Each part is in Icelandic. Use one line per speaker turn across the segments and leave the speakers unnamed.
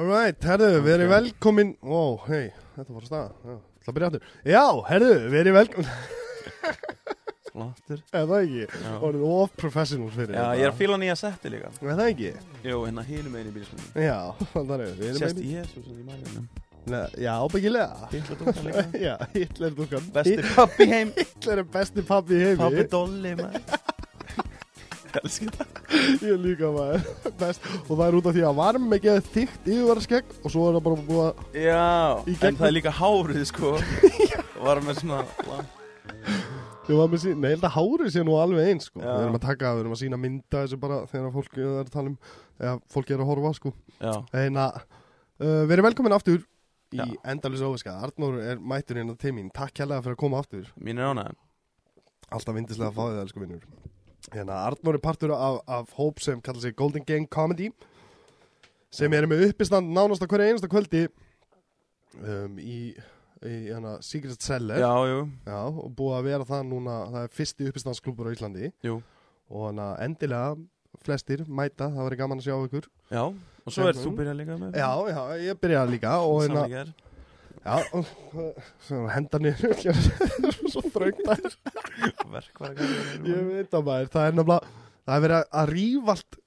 right, herðu, verið velkomin Ó, hei, þetta var að staða Já, Það byrja aftur Já, herðu, verið velkomin
Slottur
Er það ekki?
Já.
Orðið of professionals fyrir
Já, ég er að fíla nýja setti líka
Er það ekki?
Jú, hérna hínum einu bílismunum
Já, þannig er við erum
Sérst
einu-
Jésús í marginum
Nei, Já, byggilega
Dittla dóttar hérna. líka
Já, Hitler er dúkan
Besti pappi heim
Hitler er besti pappi í heimi
Pappi dolli maður Elsku það
Ég líka maður Best Og það er út af því að varm ekki að þygt yfirvaraskegg Og svo er það bara búið að
Já,
Í
en
gegnum-
það er líka hárið sko Var með svona
Við varum að sína, nei, ég held að hárið sé nú alveg eins, sko.
Já.
Við erum að taka, við erum að sína mynda þessu bara þegar að fólk er að tala um, eða fólk er að horfa, sko.
Já,
En að, uh, við erum velkomin aftur í
Já.
Já. endalus óviska. Arnór er mættur hérna til mín. Takk hérlega fyrir að koma aftur.
mín er ánæðan
Alltaf vindislega að fá þið, elsku vinnur. Hérna, Arnór er partur af, af hóp sem kallar sig Golden Gang Comedy, sem er með uppistand nánast á hverju einasta kvöldi um, í, í hérna, Secret Cellar.
Já, jú,
Já, og búið að vera það núna, það er fyrsti uppistandsklubur á Íslandi.
jú
og hann að endilega flestir mæta, það verið gaman að sjá ykkur
Já, og svo
Mhm.
er þú byrjað líka með
Já, já, ég byrjaði líka og hérna,
Samlíkar
já, og, uh, svo henda niður svo þröngt að
Verkvar
ég veit að maður, það er nefnilega það er verið að- að rífa allt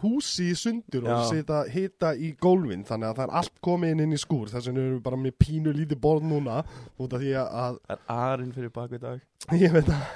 húsi í sundur og
Já.
setja hita í gólfin þannig að það er allt komið inn inn í skúr þess vegna erum við bara með pínu lítið borð núna út af því að
Það er arinn fyrir baku í dag
ég veit að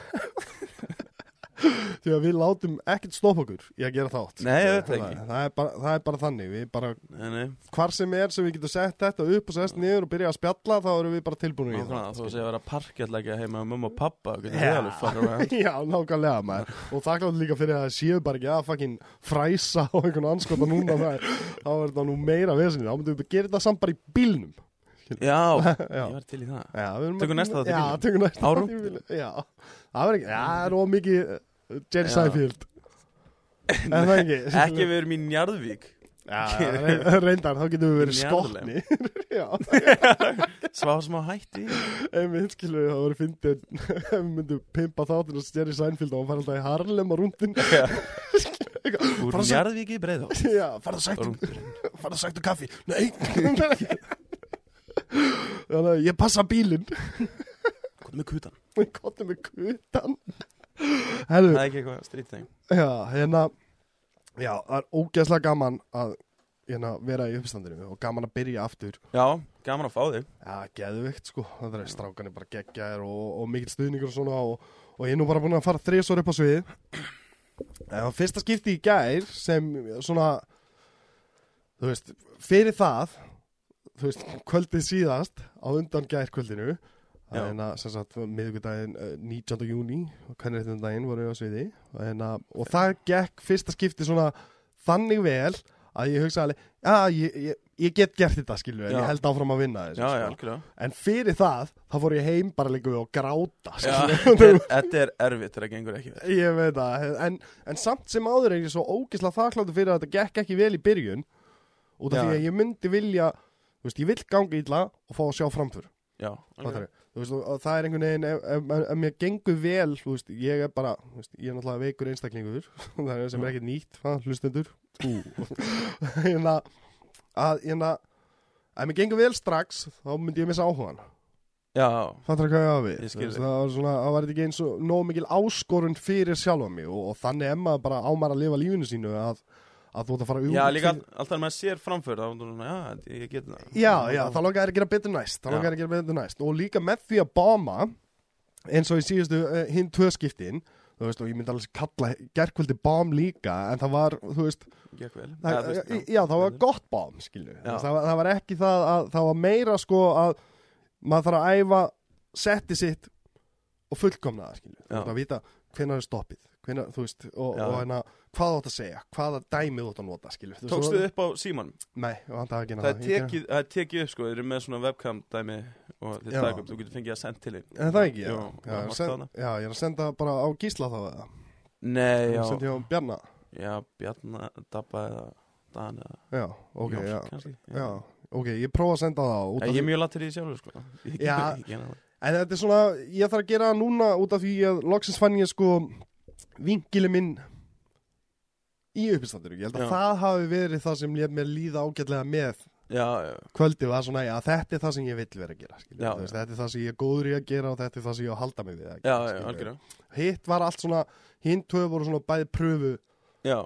því að við látum ekkert stopp okkur í að gera þátt
Nei, auðvitað ekki.
það er, bara, það er bara þannig, við bara
Nei, nei,
hvar sem er sem við getum sett þetta upp og sest niður og byrja að spjalla þá erum við bara tilbúinu í
nákvæmlega Þú séu að vera parkjallækja heima með mamma og pappa Hvernig
Já.
það er alveg fara around
Já, nákvæmlega maður og þakklátt líka fyrir að það séu bara ekki að fucking fræsa á einhvern anskota núna maður þá er þetta nú meira vesinni, þá myndum við gera þetta samt bara í bílnum
Já,
Já,
ég var til í það
já við erum
Tökum næsta þátt í
Já,
bílnum.
tökum næsta
Árum.
þátt í bílnum. Já, það verður ekki, já, það er of mikið uh, Jerry
Já.
Seinfeld En það ekki
Ekki við erum í Njarðvík
Já, re- reyndar, þá getum við verið
Njarðlem.
skotni Já
Svá smá hætti
einmitt, skilur við, það voru fyndið ef við myndum pimpa þáttinn og stjæri Sænfield og hann fær alltaf í Harlem á rúndin
Úr
Bara svo-
Njarðvík í breið
já, farðu sættu, farðu sættu kaffi nei þannig að ég passa bílinn
Hvað með kutan?
og kottum með kutan
Það
herru,
er ekki eitthvað strýtteng
já, hérna já, það er ógeðslega gaman að hérna, vera í uppstandinu og gaman að byrja aftur
Já, gaman að fá þig
Já, geðvikt sko, það er strákan bara geggjaðir og, og mikill stuðningur og svona og, og ég er nú bara búin að fara þrisvar upp á sviði Það var fyrsta skipti í gær sem svona, þú veist, fyrir það, þú veist, kvöldið síðast á undan gær kvöldinu
Já.
en að, sem sagt, miðvikudaginn eh, 19. júni og hvernig þetta daginn voru við á sviði en að, og það gekk fyrsta skipti svona þannig vel að ég hugsaði alveg, já, ég, ég, ég get gert þetta, skilju, en
Já.
ég held áfram að vinna þessu
Já, já,
sko.
algjörlega
En fyrir það, þá fór ég heim bara líka við og gráta
Já,
skilur.
þetta er- Þetta er erfitt þegar það gengur ekki vel
Ég veit það, en, en samt sem áður er ég svo ógislega þakkláttur fyrir að þetta gekk ekki vel í byrjun Út af
Já.
því að ég myndi vilja, þú veist, ég vill ganga illa og fá að sjá framför
Já,
okay. Þú veist, og- og það er einhvern veginn, ef, ef, ef, ef mér gengur vel, þú veist, ég er bara, þú veist, ég er náttúrulega veikur einstaklingur Það er sem er ekkert nýtt, hvað, hlustendur Hérna, að, hérna, ef mér gengur vel strax, þá myndi ég missa áhugan
já,
Fattar hvað ég á við?
Ég skil
Þú veist,
þig.
Það var svona, það var þetta ekki eins og nóg mikil áskorun fyrir sjálfa mig og, og þannig er maður bara ámar að lifa lífinu sínu að, að þú ert að fara
já líka
fyrir-
alltaf þegar maður sér framför þá er það svona, já, þetta- ég get það
Já, já, þá langar er að gera betur næst, þá
Já.
langar er að gera betur næst og líka með því að báma eins og í síðustu uh, hinn tvöskiptin þú veist, og ég myndi alveg kalla gerkvöldi bám líka, en það var, þú veist
Gekk vel
Það,
Eða, þú veist,
já, það var gott bám, skilju.
Já.
Það, var- það var ekki það að, það var meira sko að maður þarf að æfa setti sitt og fullkomna það, skilju.
Já.
Það að vita hvenær er stoppið, hvenær, þú veist, og,
Já.
og hérna, hvað þú átt að segja, hvaða dæmið þú átt að nota, skilju.
Tókstu þið upp á síman?
Nei, og hann það ekki
Það er tekið, það er tekið upp sko, þeir eru með svona webcam dæmi og þið
Já.
taka upp, þú getur fengið að senda til þig
En það ekki, já.
Jú,
já,
það
ég er
var
að send,
þarna.
já, ég er að senda bara á gísla þá eða.
Nei, já,
Sendi ég á Bjarna.
já, Bjarna, Dabba eða Dan eða
Já, ok,
Jóns,
já.
kannski
Já, ok, ég prófa að senda það á. út af
Ég,
því-
ég er mjög latur í því sjálfur sko Ég-
Já.
ég- ég- ég-
En þetta er svona, ég þarf að gera það núna út af því að loksins fann ég sko vingili minn í uppistandinu. Ég held að
Já.
það hafi verið það sem létt mér líða ágætlega með
já, já,
kvöldi var svona, já, þetta er það sem ég vill vera að gera, skilur,
Já,
þú veist,
já.
þetta er það sem ég er góður í að gera og þetta er það sem ég á að halda mig við að
já,
gera,
já,
skilurðu.
algjörða
Hitt var allt svona, hinn tvö voru svona bæði pröfu.
Já,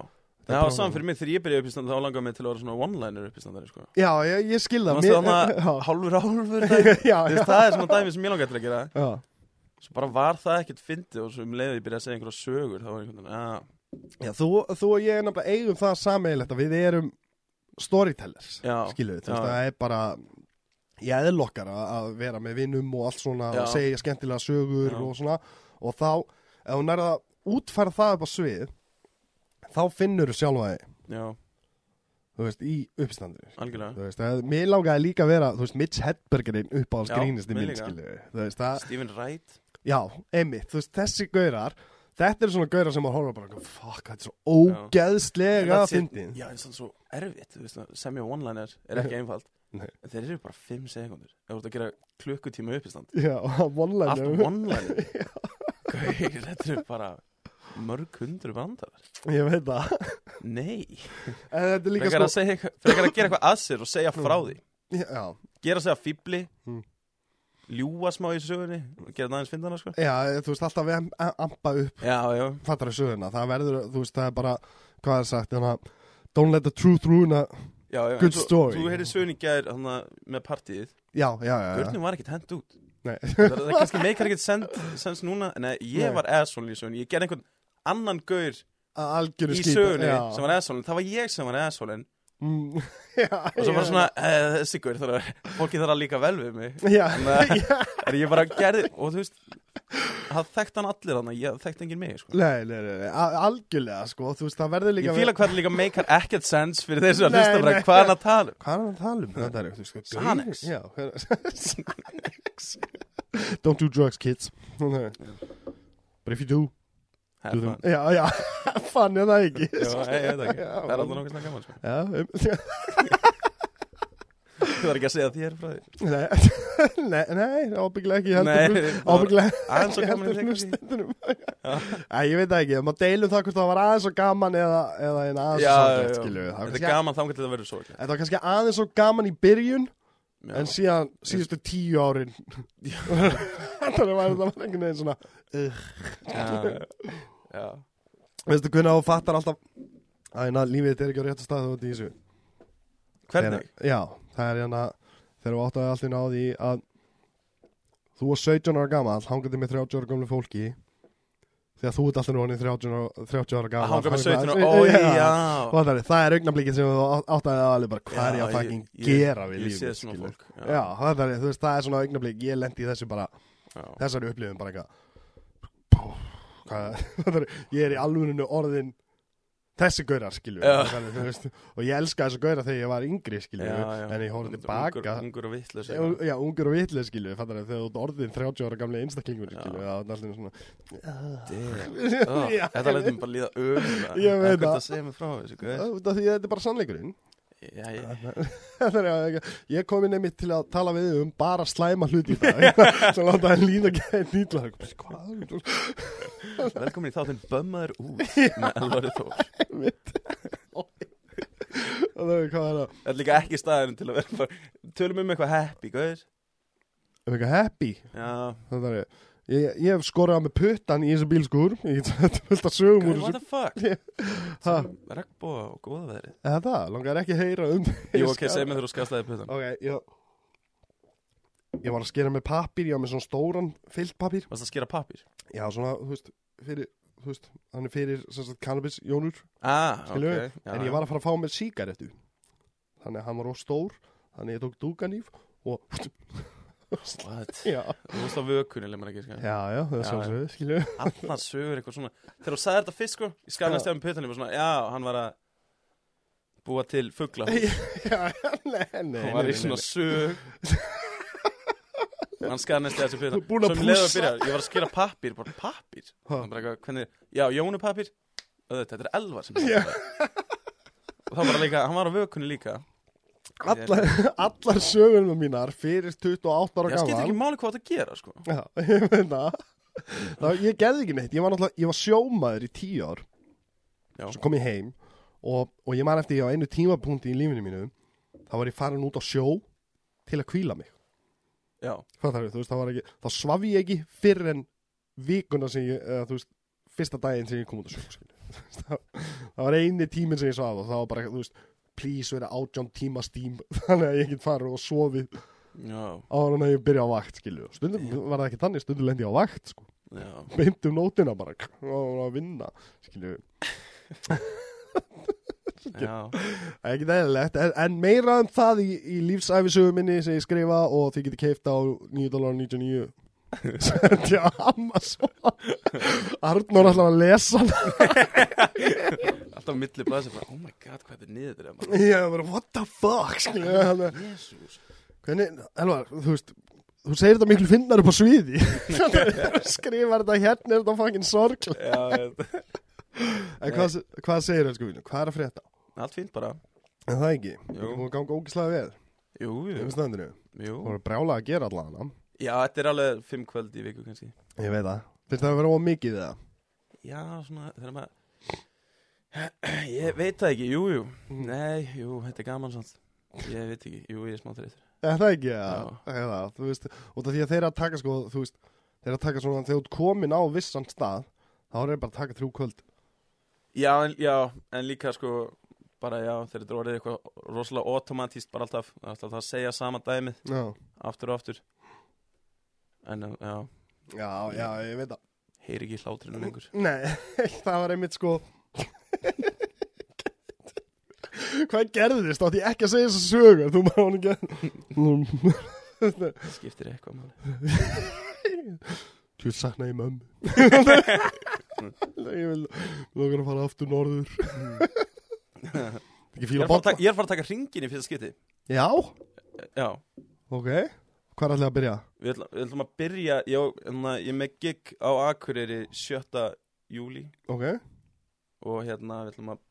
Þetta er
það var
bara-
saman fyrir mig þegar ég byrjaði uppistandar þá langaði mig til að vera svona one-liner uppistandari sko.
Já, ég, ég skilða.
Þannig að það hálfur hálfur dæmi.
já, já,
Þú veist, það er svona dæmi sem ég langaði til að gera
já.
Svo bara var það ekkert fyndið og svo um leiðið ég byrjaði að segja einhverja sögur þá var einhvern veginn, að,
Já, þú, þú og ég er nefnilega eigum það sameigilegt að við erum storytellers,
Já,
skilur við, þú
já.
veist, það er bara í eðlokkar að, að vera með vinnum og allt svona
Já.
og segja skemmtilega sögur
Já.
og svona og þá, ef hún er að útfæra það upp á svið, þá finnur þú sjálfa þig,
já,
þú veist, í uppstandinu.
algjörlega
Þú veist, að, mér langaði líka að vera, þú veist, Mitch Hedbergerinn upp á alls
Já,
grínisti
mér
minn,
líka.
skilur við, þú veist, það,
Stephen Wright
Já, einmitt, þú veist, þessi gaurar Þetta eru svona gaurar sem maður horfa bara Fuck, þetta er svo ógeðslega
En
að
það sé-
fyndin
Já, en það er svo erfitt, þú veist, að semja one-liner er ekki einfalt
Nei.
En þeir eru bara 5 sekundur Ef þú ert að gera klukkutíma uppistand
Já,
Allt
vonlega
one-liner Gauir, þetta eru bara mörg hundru bandar
Ég veit það
Nei,
En þetta er líka
frekar
sko
að, segja, eitthvað- frekar að gera eitthvað að sér og segja frá því
Já,
gera sig að fýbli
Mm.
ljúa smá í sögunni og gera það aðeins fyndana sko
já, eh, þú veist, alltaf við am- am- ampa upp
já, já,
Fattar að söguna, það verður, þú veist, það er bara Hvað er sagt, þannig að Don't let the truth ruin a
já, já
Good
en svo-
story.
þú heyrði sögunni í gær hana, með partíið,
Já, já, já, já.
gurnum var ekkert hent út
Nei.
það það kannski meikar ekkert send, sens núna, nei, ég
Nei.
var asshole í sögunni, ég gerði einhvern annan gaur
Algjöru
í
skýta
sögunni
já.
sem var asshole, það var ég sem var asshole og
mm, já,
svo var
já.
svona, eh, þessi gaur þarf að, fólki þarf að líka vel við mig
Já,
þannig að er ég bara gerði og þú veist, það þekkt hann allir þannig, ég þekkt enginn mig sko
nei, nei, nei, nei, a- algjörlega sko Þú veist, það verður líka
Ég fíla hvað það líka meikar ekkert sens fyrir þessu að
Nei,
hlusta bara
nei.
hvað hann að tala um.
Hvað er hann að tala um? Þetta er, þú sko,
Xanax.
gaurin- Já, hver- Don't do drugs, kids Nei. But if you do, do them
Hefðan.
Já, já, fann ég það ekki
Jó, ég veit ekki.
Já,
Það er alltaf nokkað svona gaman, sko.
Já, um,
Þú þarf ekki að segja þér frá því.
nei, nei, nei, ábyggilega ekki
Nei,
heldur,
það var
Ábyggilega
aðeins og gaman í
heldur
þeim
hlustendunum Nei, ég veit það ekki, maður deilum það hvort það var aðeins og gaman eða, eða einn aðeins
Já,
og
já,
sorglegt,
já.
skilju
Þetta er gaman þangar til það verður svo
Þetta var kannski aðeins og gaman í byrjun En
ekki.
síðan síðustu tíu árin Þannig var þetta var einhvern veginn svona
Já, já.
Veistu hvernig þú fattar alltaf að hérna lífið þetta er ekki á réttu stað þú ert í þessu
Hvernig?
Þegar- Já, það er hérna þegar þú áttaði allt í náði að þú var 17 ára gamall hangandi með 30 ára gamlu fólki þegar þú ert alltaf nú honið 30, ára- 30 ára
Að
gamall
hanga með 17 og ó, já.
Og Það er, það er augnablikið sem þú áttaði að alveg bara hvað er
Já,
ég að fucking
ég-
gera við
Ég
lífið
sé svona
skilur?
fólk.
Já, það er, þú veist, það er svona augnablik ég lendi í þessu bara
já.
þessari upplifun bara eitthvað hvað, það er, ég er í alvörinu orðin þessi gaurar skilju
Já.
og ég elska þessu gaurar þegar ég var yngri skilju en ég horfði tilbaka
Ungur- Ungur og vittlust.
Já, já, ungur og vitlega skilju fattar þegar þú ert orðin 30 ára gamli einstaklingur
Já.
skilju það er allir svona Já,
Þetta
ég
letur mér bara líða öfum.
Ég veit
það.
það.
að segja mig frá þessu,
veit.
guð.
út af því að þetta er bara sannleikurinn
Já, ég-
Þannig að ég- ég kom inn einmitt til að tala við þig um bara slæma hluti í dag sem láta það líða gæði nýtla hvað
Velkomin í þáttinn Bömmaður út með Elvari Þór.
Það er hvað er það?
Það er líka ekki staðurinn til að vera bara, tölum um eitthvað happy, gauðir.
Er eitthvað happy?
Já,
Það er ég. Ég, ég hef skorað með puttan í þessu bílskur Ég get þetta fullt að sögum úr
gauðir, what
þessu
the fuck?
Ha,
Regnbóa og góða veðri.
Eða það, langar ekki að heyra um
Jú, ok, segð mér þegar þú skastaði putan.
Ok, já Ég var að skera með pappír, ég var með svona stóran fyllt pappír
Varst að skera pappir?
Já, svona, þú veist, fyrir, þú veist, hann er fyrir sem sagt cannabis, jónur
Ah,
Skilju,
ok. Já,
En ég var að fara að fá mér sígarettu Þannig að hann var of stór Þannig að ég tók dúkanýf og
What?
Já,
Þú veist á vökunni, lemur ekki, sko.
já, já, það er
Já,
sjálfsögðu, skilju
Allar sögur eitthvað svona. Þegar þú sagði þetta fyrst, sko, ég skar næstu af með putan, ég var svona, já, hann var að búa til fuggla.
Já, nei, nei
Hann var
nei,
í svona
nei,
sög. Hann skar næstu af þessu putan.
Búin að
Svo um leið og
pússa.
byrjaði, Ég var að skera pappir, bara pappir.
Ha.
bara eitthvað, hvernig, já, Jónupapir auðvitað, þetta er Elvar sem yeah. og það var líka, hann var á vökunni líka
allar, allar sögurnar mínar fyrir 28 ára
ég skipti ekki
gaman
máli hvað það gera, sko
Já, ég veit það Ná, ég gerði ekki neitt, ég var náttúrulega, ég var sjómaður í tíu ár
Já.
Svo kom ég heim og, og ég man eftir ég á einu tímapunkti í lífinu mínu þá var ég farin út á sjó til að kvíla mig
já,
hvað það er, þú veist, það var ekki, þá svaf ég ekki fyrr en vikuna sem ég, eða, þú veist, fyrsta daginn sem ég kom út á sjó, skilju. það, það var eini tíminn sem ég svaf og það var bara, þú veist, please vera átján tíma stím, þannig að ég get farið og sofið
já,
ára en að ég byrja á vakt, skilju. Stundum var það ekki þannig, stundum lendi ég á vakt, sko,
já
beint um nótina bara, og að vinna, skilju.
Já,
Ekkert eðlilegt, en, en meira um það í, í lífsæfisögu minni sem ég skrifa og þið getur keift á 9.99 Sendja Amazon Arnór ætlaði að lesa hana.
alltaf milli blaðsir bara, oh my god, hvað þetta er niður þetta bara,
Ég bara, what the fuck skilur við, hann-
Jesus
Hvernig, Elvar, þú veist Þú segir þetta miklu finnar upp á sviði Skrifar þetta hérna er þetta fucking sorg
Já, þetta
En hvað, hvað segir elsku vinnu? Hvað er að frétta?
Allt fínt bara
En það ekki,
Jú.
við komum að ganga ógislega vel
Jú,
Þeim
jú,
stendinu,
jú
þú voru brjála að gera allan hana
Já, þetta er alveg fimm kvöld í viku kannski
Ég veit það, finnst það að vera of mikið það
Já, svona, þegar maður Ég veit það ekki, jú, jú Nei, jú, þetta er gaman samt Ég veit ekki, jú, ég er smá þreytur
Er það ekki, ja.
Já.
er það, þú veist, út af því að þeir eru að taka sko, þú veist, þeir eru að taka svona, þegar þú ert komin á vissan stað, þá eru þeir bara að taka þrjú kvöld.
Já, en, já, en líka sko bara já, þegar þetta er orðið eitthvað rosalega automatíst bara alltaf, það er alltaf að segja sama dæmið
Já,
aftur og aftur en um, já,
já, já, ég veit það.
heyri ekki hlátrinu lengur
Nei, það var einmitt sko, hvað gerðist, átti ég ekki að segja þessu sögur, þú maður hún ekki að...
það skiptir eitthvað máli
Þú sakna ég mömmu Ég vil lókar að fara aftur norður Ekki
Ég
fíla
er, að fara að
bolla
taka, ég er að fara að taka ringin í fyrsta skipti
Já,
Já,
ok Hvað er allir að byrja?
við ætlum, við ætlum að byrja Ég, hérna, ég er með gig á Akureyri 7. júli
Ok,
Og hérna, við ætlum að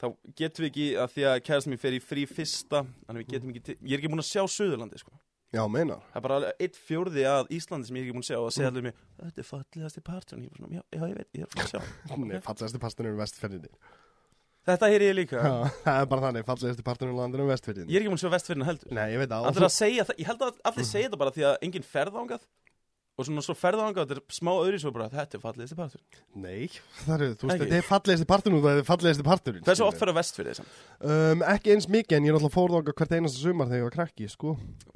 Þá getum við ekki, að því að kærast mér fer í frí fyrsta Þannig við getum ekki, til- ég er ekki búin að sjá Suðurlandi sko
já meinar
Það er bara alveg eitt fjórði að Íslandi sem ég er ekki búin að sjá Og það segja allir mér, þetta er fallegasti parturinn Ég er bara svona, já, já, ég veit, ég er að fara að sjá
Nei, fallegasti parturinn um vestferðinni
Þetta heyri ég líka
Það er bara þannig, fallegasti parturinn um landinu um vestferðinni
Ég er ekki búin að sjá vestfyrirna heldur
Nei, ég veit það
Allir að segja það, ég held að allir segja þetta bara því að enginn ferðangað og svona svo ferðangað, þetta er smá öðri svo bara, þetta er fallegasti partur.
Nei, það er, þú veist,
Ekki.
þetta er fallegasti parturinn Það er fallegasti parturinn
Hversu oft
skilurðu.
ferðu á vestfyrir þessum?
um, Ekki eins mikið, en ég er náttúrulega fórðanga hvert einasta sumar þegar ég var krakki, sko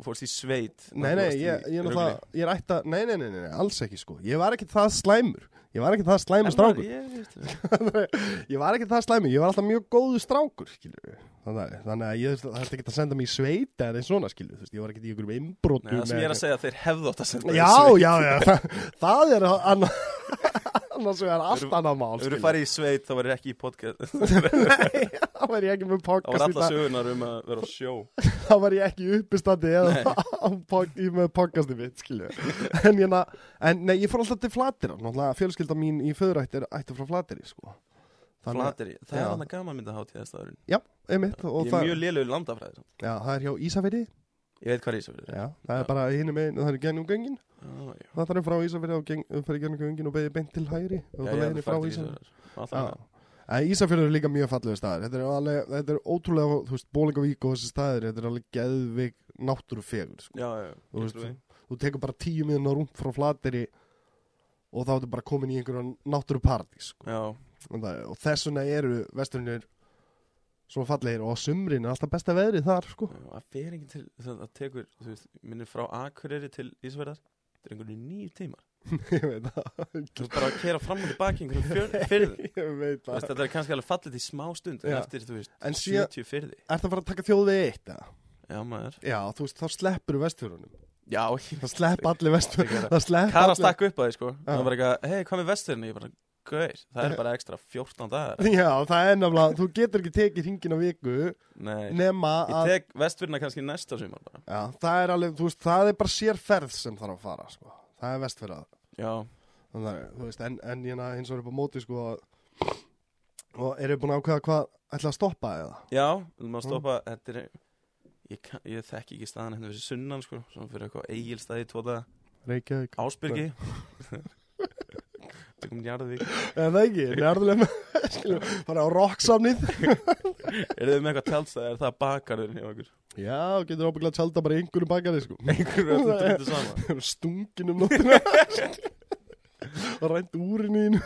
Fórst í sveit?
Nei, nei,
Fórst
ég,
í
ég, er
rugli.
náttúrulega, ég er ætta, nei, nei, nei, nei, nei, alls ekki sko Ég var ekki það slæmur, ég var ekki það
En
slæmur
maður-
strákur
ég veit það.
Ég var ekki það slæmur, ég var alltaf mjög góðu strákur, skilju Þannig, þannig að ég þarf ekki að senda mig í sveit eða eins svona, skilju Þú veist, ég var ekki í einhverjum
Nei,
innbrotum
Það sem ég er að
eða-
segja, þeir hefðu átt að senda þig í
Já,
sveit.
já, já, það, það er annars, annars vegar
Eru-
allt annað mál,
Ef Þú eru
skilju
farið í sveit, þá verður ekki í podcast.
Nei, þá var ég ekki með
Þá var
podcast í
alla
dag
sögunar um að vera á sjó.
þá var ég ekki í uppistandi eða á pod- í- með podcasti mitt, skilju. En, hérna, en nei, ég fór alltaf til flatir, náttúrulega fjölskylda mín í föðurætt er ætti frá flatiri, sko. að-
Flateri. Það er
Já.
hann að gaman mynda hátíðastafurinn.
Já, einmitt, og
Ég er
það,
mjög lélugur landafræðir.
já, það er hjá Ísafirði,
Ég veit hvað Ísafjörður er.
já, það er bara hinn með, það er gennum göngin,
Á, já.
það er frá Ísafirði og geng, fyrir gennum göngin og beðið beint til hægri og
Já,
það
já,
leiðinni
þú
frá
ferð til
Ísafirði.
Ísafjarðar. Náttúrulega.
Já. En Ísafjörður er líka mjög fallegu staðir Þetta er, alveg, þetta er ótrúlega, þú veist, Bólingavík og þessi staðir Þetta er alveg geðvig náttúrufegur sko.
Já, já, já.
Þú
Ég
veist,
trúi.
þú tekur bara tíu miðunar rúmt frá flateri og þá ertu bara komin í einhverjum náttúru paradís sko.
Já,
og það- og þess vegna eru vesturinn svo fallegir og á sumrin er alltaf besta veðrið þar sko.
Já, það fer enginn til, það, það tekur, þú veist, minnir frá Akureyri til Ísverðar, þetta er einhvern nýju tímar.
ég veit það
Þú veist bara að kera fram og tilbaki einhvern fjör, fyrð.
ég veit
Veist,
það
þetta er kannski alveg fallið í smá stund,
Já.
en eftir, þú veist,
En síðan-
70 fyrði.
Ertu að fara að taka þjóðvegi eitt eða?
Já, maður.
Já, þú veist, þá sleppur vesturunum
Já, ég-
Það slepp allir vestur
Ekki vera-
Það slepp
Kara
allir
stakk upp að því, sko.
Já.
Það var bara eitthvað, hei, hvað með vesturinn? Ég bara, gauð, það er bara ekstra 14 dagar.
Já, það er nefnilega, þú getur ekki tekið hringin á viku
Nei,
nema
ég
að
tek vesturinn kannski næsta sumar bara.
Já, það er alveg, þú veist, það er bara sérferð sem þarf að fara, sko Það er vestfyrað
Já,
Þannig að, þú veist, en, en hérna eins og er upp á móti, sko að- Og eru búin að ákveða hvað ætla að stoppa eða?
já, við maður stoppa, þetta er... Ég, kann, ég þekki ekki staðan hérna fyrir sunnan sko, svona fyrir eitthvað eigilstaði tóta
Reykjavík
Ásbyrgi Tökum Njarðvík
En það ekki, nærðulega með, skilum, fara á rocksamnið
Er þið með eitthvað tjálstæði, er það bakarinn hjá ykkur?
Já, getur ábygglega að tjálta bara í einhverjum bakari sko.
Einhverju er þetta drítið saman
Stungin um nóttina Og rænt úrin í hinn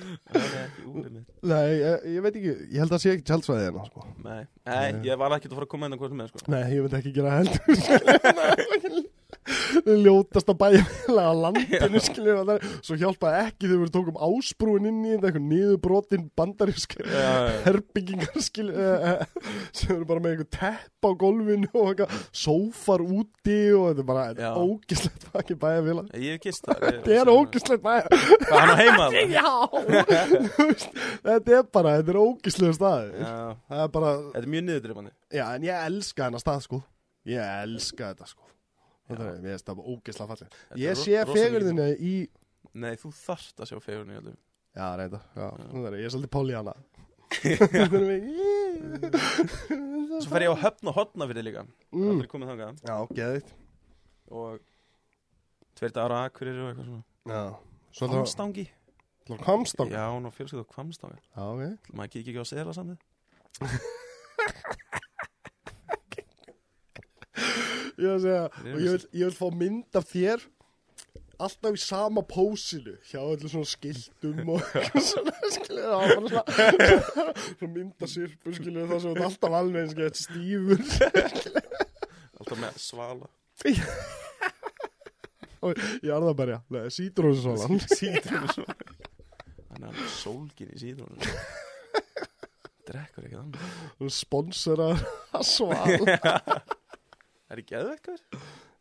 Það er ekki úrið mitt
Nei, ég, ég veit ekki, ég held að sé ekki tjálsvæði hérna sko.
Nei, Nei, ég var ekki að fara að koma inn á hvort með sko
Nei, ég veit ekki gera heldur Ljótast að bæja á landinu skilur það er- Svo hjálpaði ekki þegar við tókum ásbrúin inn í þetta eitthvað niðurbrotinn bandarísk
Já, já, já.
herbyggingar skil uh, sem eru bara með einhver tepp á gólfinu og eitthvað sófar úti og þetta er bara þetta
Já.
er ógislegt fucking bæjarfélag
Ég hef gist það
Þetta er ógislegt bæjar
Það hann á heima það
Já Þú veist, Þetta er bara, þetta er ógislegu staði
Þetta
Það er bara,
er mjög niðurdrifandi
já en ég elska hennar stað sko Ég elska þetta sko Þetta er, ég veist það bara ógislega fallið
Þetta er
Ég
ro-
sé
rosa mikið.
fegurðinni í
Nei, þú þarft að sjá fegurinn í öllum
Já, reynda, já,
Já.
það er, ég er svolítið pól í hana Svo
Svo fer ég á höfn og hotna fyrir líka Það er
mm.
aldrei komið þangað
Já, geðið
Og Tveir dagar á akkurir og eitthvað svona
Já, svo er það
Kvamstangi
var Kvamstang
Já, hún á fjölskyld og kvamstanga
Já, ok
Maður kikið ekki á sela samt
Ég vil segja,
Ég er
og ég vil, ég vil fá mynd af þér Alltaf í sama pósinu Hjá öllu svona skiltum og eitthvað svona Skilju, það var bara svona Svona myndasirpu, skilju Það sem þú ert alltaf alveg eins og eitt stífur
Alltaf með svala
Og ég er það berja, sítrósusólan
Sítrónu svo Hann er alveg sólgin í sítrónu Drekkur ekki þannig
Sponsora sval
Er ekki eðvekkar?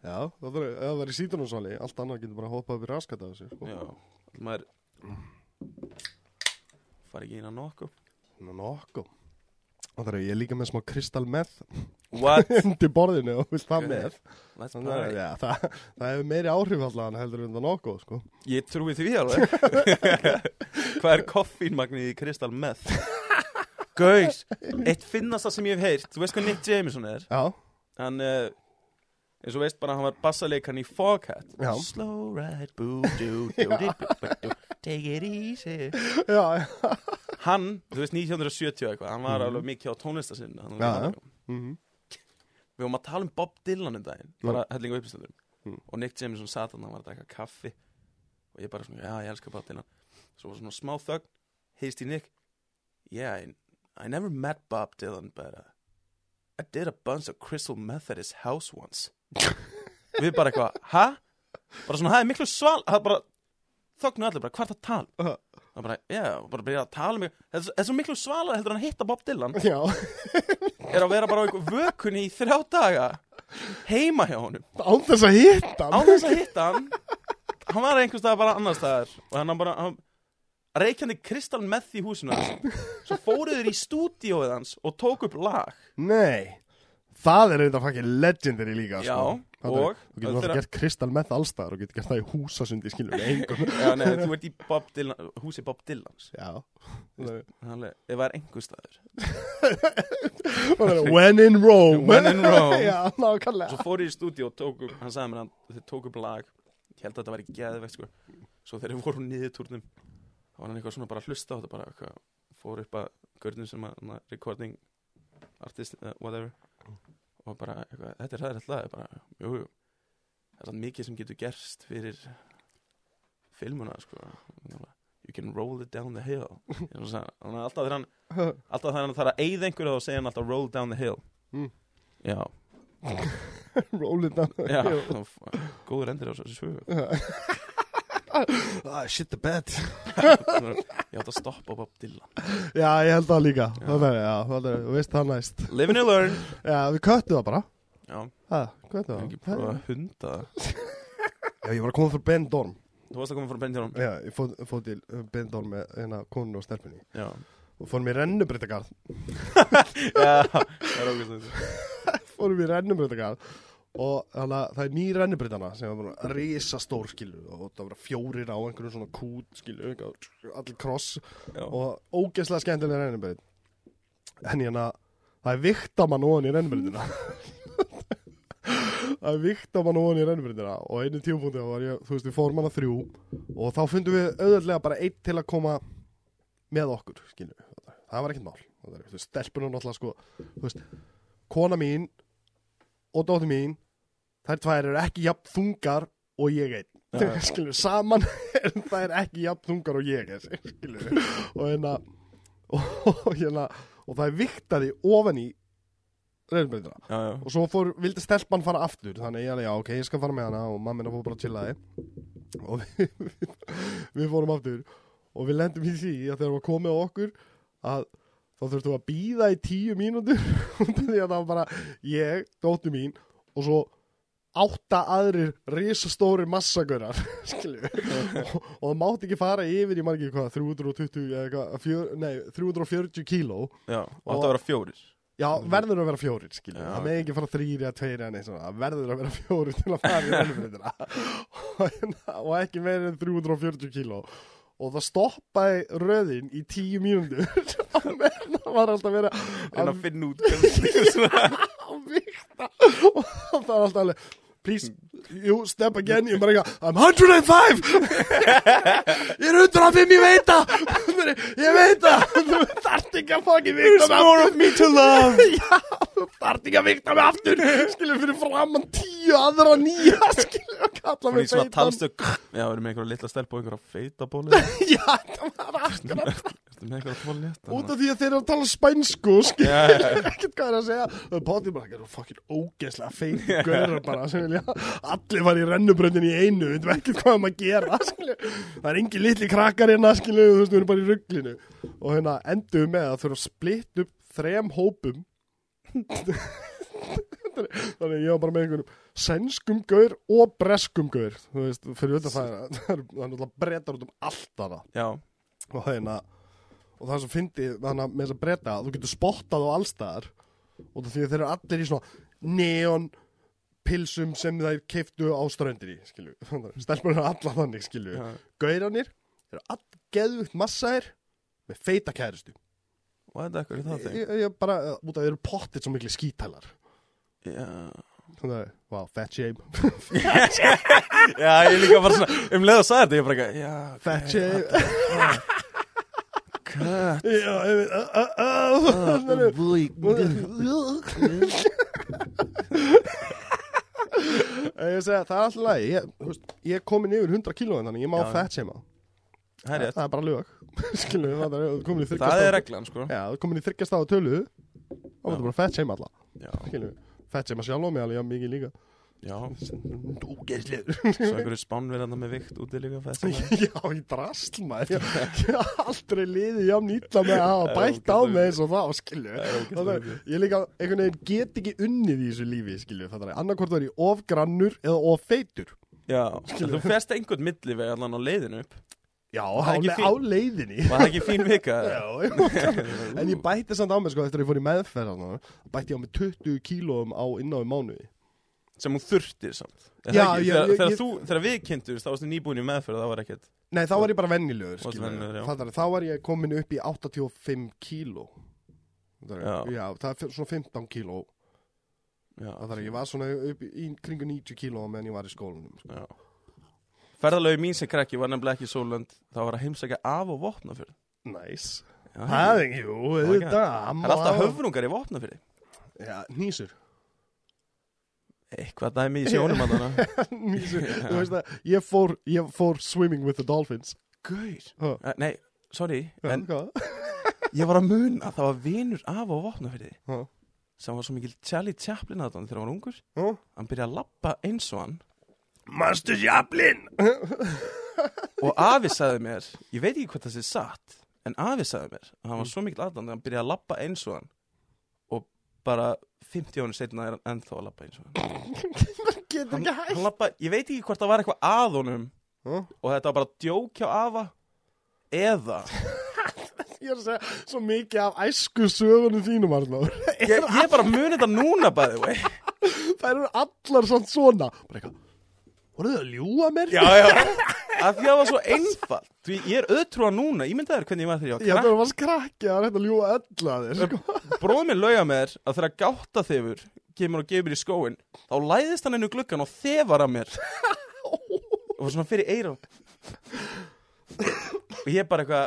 Já, það var, ef það var í sítrónusóli Allt annað getur bara hoppað upp í raskat af þessu sko.
Já Maður Far ekki inn að nokku
Ná, nokku Og það er, ég er líka með smá kristal meth
What?
Undir borðinu og vilt það
Ok.
með
Let's
Þannig að
party
ja, það, það hefur meiri áhrif allan heldur en það nokkuð, sko.
Ég trúi því alveg Hvað er koffínmagnið í Crystal Meth? Gauðs Eitt finnasta sem ég hef heyrt Þú veist hvað Nick Jameson er?
Já,
Hann uh, eins og veist bara hann var bassalekan í Foghat
Já.
Slow ride boo doo doo doo doo doo Take it easy
já, já.
Hann, þú veist 1970 eitthvað Hann var alveg mikið á tónlistasinn
Mhm. Já, já. Mm
Við vorum að tala um Bob Dylan um daginn
Já.
Bara hellingu upplýstundur
Mm.
Og Nick Jameson sat hann, hann var að drekka kaffi Og ég bara svona, já, ég elska Bob Dylan Svo var svona smá þögn Heist í Nick Yeah, I, I never met Bob Dylan But uh, I did a bunch of crystal meth at his house once Við bara eitthvað, ha? Bara svona, það er miklu sval Það bara, þögnu allir bara, hvað er það að tala?
Já.
Það bara, já, bara byrja að tala um mig Það er svo- það er svo miklu svalar heldur en að hitta Bob Dylan
Já,
er að vera bara á einhver vökunni í þrjá daga heima hjá honum
án þess að hitta
á
hann.
þess að hitta hann hann var einhvers staðar bara annars staðar og hann bara hann, reykjandi kristal meth í húsinu hans svo fóruður í stúdíóið hans og tók upp lag
Nei, það er auðvitað fucking legendary líka,
Já,
sko. Það er- Þú
og-
getur
þeirra-
náttúrulega gert kristal með allstaðar og getur gert það í húsasundi, skilur við engum.
já, nei, þú ert í Bob Dylan, húsi Bob Dylans
Já, það er-
Þannig, ef var einhvers staðar
það er when in Rome.
When in Rome.
Já, nákvæmlega.
svo fóruður í stúdíó og tók upp hann sagði mér hann, þau tók upp lag ég held að þetta væri geðvegt sko svo þegar við vorum niður túrnum þá var hann eitthvað svona bara að hlusta á þetta bara eitthvað, fór upp að görnum sem að hana, recording artist, uh, whatever og bara, eitthvað, þetta er ræðrætt lag bara, jú, jú það er sann mikið sem getur gerst fyrir filmuna, sko Hann bara, you can roll it down the hill þannig að alltaf þegar hann alltaf þegar hann þarf að eyða einhverju þá segir hann alltaf roll down the hill
Mm.
já,
Roll it down.
já þá f- góður endur á þessu sögu
Ah, shit the bed.
ég átt að stoppa Bob Dylan
Já, ég held það líka. Það er, já, það er, þú veist það næst.
live and learn
Já, við köttum það bara.
já,
Ha, hvað er
ég hef
það?
ekki prófað að hunda það
Já, ég var að koma frá Ben Dorm.
þú varst að koma frá Benjamin
Já, ég fóð fó til Bindor með hérna konun og stelpunni
já,
og fórum í rennubreytagarð
já það er ógæst
fórum í rennubreytagarð og þannig að það er ný rennubreytana sem var bara risastór skilu og það var fjórir á einhverjum svona kút skilu eitthvað, allir kross og ógeðslega skemmtilega rennubreyt en hérna það er viktamann ofan í rennubreytina það er viktamann ofan í rennubreytina og einu tíupunkti var ég, þú veist, við fórum hana þrjú og þá fundum við auðvöldlega bara eitt til að koma með okkur, skilu það var ekkert mál Það er, þú veist, stelpunum náttúrulega sko Þú veist, kona mín og dóttir mín þær tvær eru ekki jafn þungar og ég einn
Já, já.
ja. skilur, saman er þær ekki jafn þungar og ég einn skilur, og hérna og, og hérna og það er viktaði ofan í reyðbreyndina
já, já,
og svo fór, vildi stelpan fara aftur þannig ég alveg, já, ok, ég skal fara með hana og mamma minna fór bara að chilla þið og við, við, við fórum aftur og við lendum í því að þegar við komið á okkur að þá þurftum við að býða í tíu mínútur út af því að það var bara ég, dóttu mín og svo átta aðrir risastóri massagörar skilju og, og það mátti ekki fara yfir í margir hvað 320 eða eitthvað, fjör, nei, 340 kíló
já. Og þetta vera fjórir
Já, verður að vera fjórir, skilju.
Já,
Það með ekki fara þrýri eða tveiri eða neitt svona. Það verður að vera fjórir til að fara í rennbreytina. og, hérna- og ekki meira en 340 kíló. Og það stoppaði röðin í tíu mínúndur. það var alltaf verið
En
að
að finna út hvernig- svona.
vikta. Og það var alltaf alveg, please, you step again. Ég bara eitthvað, I'm 105! ég er 105, ég veit það! ég veit það! Þú þarft ekki að fokkin vikta
There's more of me to love
Já, þú þarf ekki að vikta mig aftur Skilur fyrir framann tíu aðra nýja Skilur að kalla
Svona í
mig
svona
feitan
talstök Já, við erum með einhverja litla stelp og einhverja feitabóli
Já, það var akkurat
Ertu með einhverja toalett
Út af því að þeir eru að tala spænsku Skilur
Já, já, já.
ekkert hvað er að segja Það er bótið bara, það eru fokkin ógeðslega feiti Gaurar bara sem vilja Allir var í rennubröndin í einu Við veitum ekkert hvað um að gera Skilur, það er engin litli krakkar hérna Skilur, þú veist, við erum bara í rugglinu Og hérna endum við með að þurfa að splitt upp Þrem hópum Þannig að ég var bara með einhverjum sænskum gaur og breskum gaur Þú veist, fyrir auðvitað það er Það er það er náttúrulega brettar út um allt aða
Já,
og hérna og það sem fyndi þannig að með þess að breyta þú getur spottað á allstaðar og því að þeir eru allir í svona neon pilsum sem þeir keiftu á ströndinni, skilju stelpur eru allar þannig, skilju
já,
gauranir eru all geðugt massaðir með feita kæristu
og þetta er eitthvað í það þing
ég, ég bara, eh, út af þeir eru pottið svo mikli skítælar
Já
þannig að, wow, fat shame
Já, ég líka bara svona, um leið að sagði þetta, ég bara ekki, já,
fat shame,
hvað,
já, ég veit uh,
Ah.
uh, uh, þannig að- Ég segja, það er alltaf lægi Ég, þú veist, ég er komin yfir 100 kílóðin þannig Ég má
Já, já.
fett seima
það er rétt,
Það er bara lög Skilur, það er komin í þryggja
það er
stafa-
reglan, sko,
Já, þú er komin í þryggja stafa tölu Þá er
Já.
bara fett seima alla
já,
Skilur, fett seima sjálf og mig alveg jafn mikið líka
já,
Ógeðslegur
svo einhverju spánverðarna með vikt úti líka fyrir þess að,
Já, í drasl maður Ég ég hef aldrei liðið jafn ítla með að hafa
Það er
bætt á
ógeðslega
mig eins og þá, skilur
það er ógæst
Þannig, að ég líka, einhvern veginn get ekki unnið í þessu lífi, skilju, þannig að annarkvort var ég of grannur eða of feitur.
Já, en þú fest einhvern milli við allan á leiðinu upp,
Já,
Það
á,
er ekki
le
fín.
á leiðinni.
var það ekki fín vika?
Já, já. en ég bætti samt á mig, sko, eftir að ég fór í meðferð, þarna, bætti ég á mig 20 kílóum á inná í mánuði.
Sem hún þurfti samt, Er það
Já,
ekki?
já, ég-
þegar, þegar,
ég-
þú, þegar við kynntumst, þá varstu nýbúin í meðferð, það var ekkert,
Nei, þá var ég bara vennilegur,
Varstu
skilju.
venjulegur, já.
Fattar, þá var ég komin upp í 85 kíló. Það er,
Já.
já, það er fyr- svona 15 kíló.
já,
Það er, ég var svona upp í, í kringu 90 kíló meðan ég var í skólanum. Sko.
já. Ferðalögi mín sem krakki var nefnilega ekki sólönd, það var að heimsækja af og vopna fyrir.
Nice.
Já,
Það er, jú,
Það er ekki-
þetta.
það er alltaf höfrungar í vopna fyrir.
Já, nýsur.
Eitthvað dæmi í sjónum að hana.
Mísu,
Já.
þú veist að ég fór, ég fór swimming with the dolphins
Gauð
Ha.
Nei, sorry, en
hvað?
ég var að muna að það var vinur af á vopnafyrði
Ha.
sem var svo mikil Charlie Chaplin að hann þegar hann var ungur
Huh?
hann byrjaði að lappa eins og hann
Master Chaplin
og afi sagði mér, ég veit ekki hvað það sé satt en afi sagði mér að hann var svo mikil aðdán að hann byrjaði að lappa eins og hann og bara 50 ánum setna er hann ennþá að lappa eins og hann
Getur
hann,
ekki hægt
hann lappa, ég veit ekki hvort það var eitthvað að honum
Huh?
og þetta var bara djók hjá afa eða
Ég er að segja svo mikið af æsku sögunum þínum Arnór
ég, ég bara muni þetta núna bæði vei
Það eru allar samt svona Bara eitthvað Voruð þið að ljúga mér?
Já, já Af því að það var svo einfalt Því ég er öðtrúa núna, ég myndi þér hvernig ég var þegar
Ég
ég var
ætla að var skrakki Það er hægt að ljúga öll að þér sko.
krakk Bróð minn lauga með þér að þegar gátta þefur Kemur og gefur í skóin Þá læðist hann innu gluggan og þefar að mér Og var svona fyrir eyrun Og ég bara eitthvað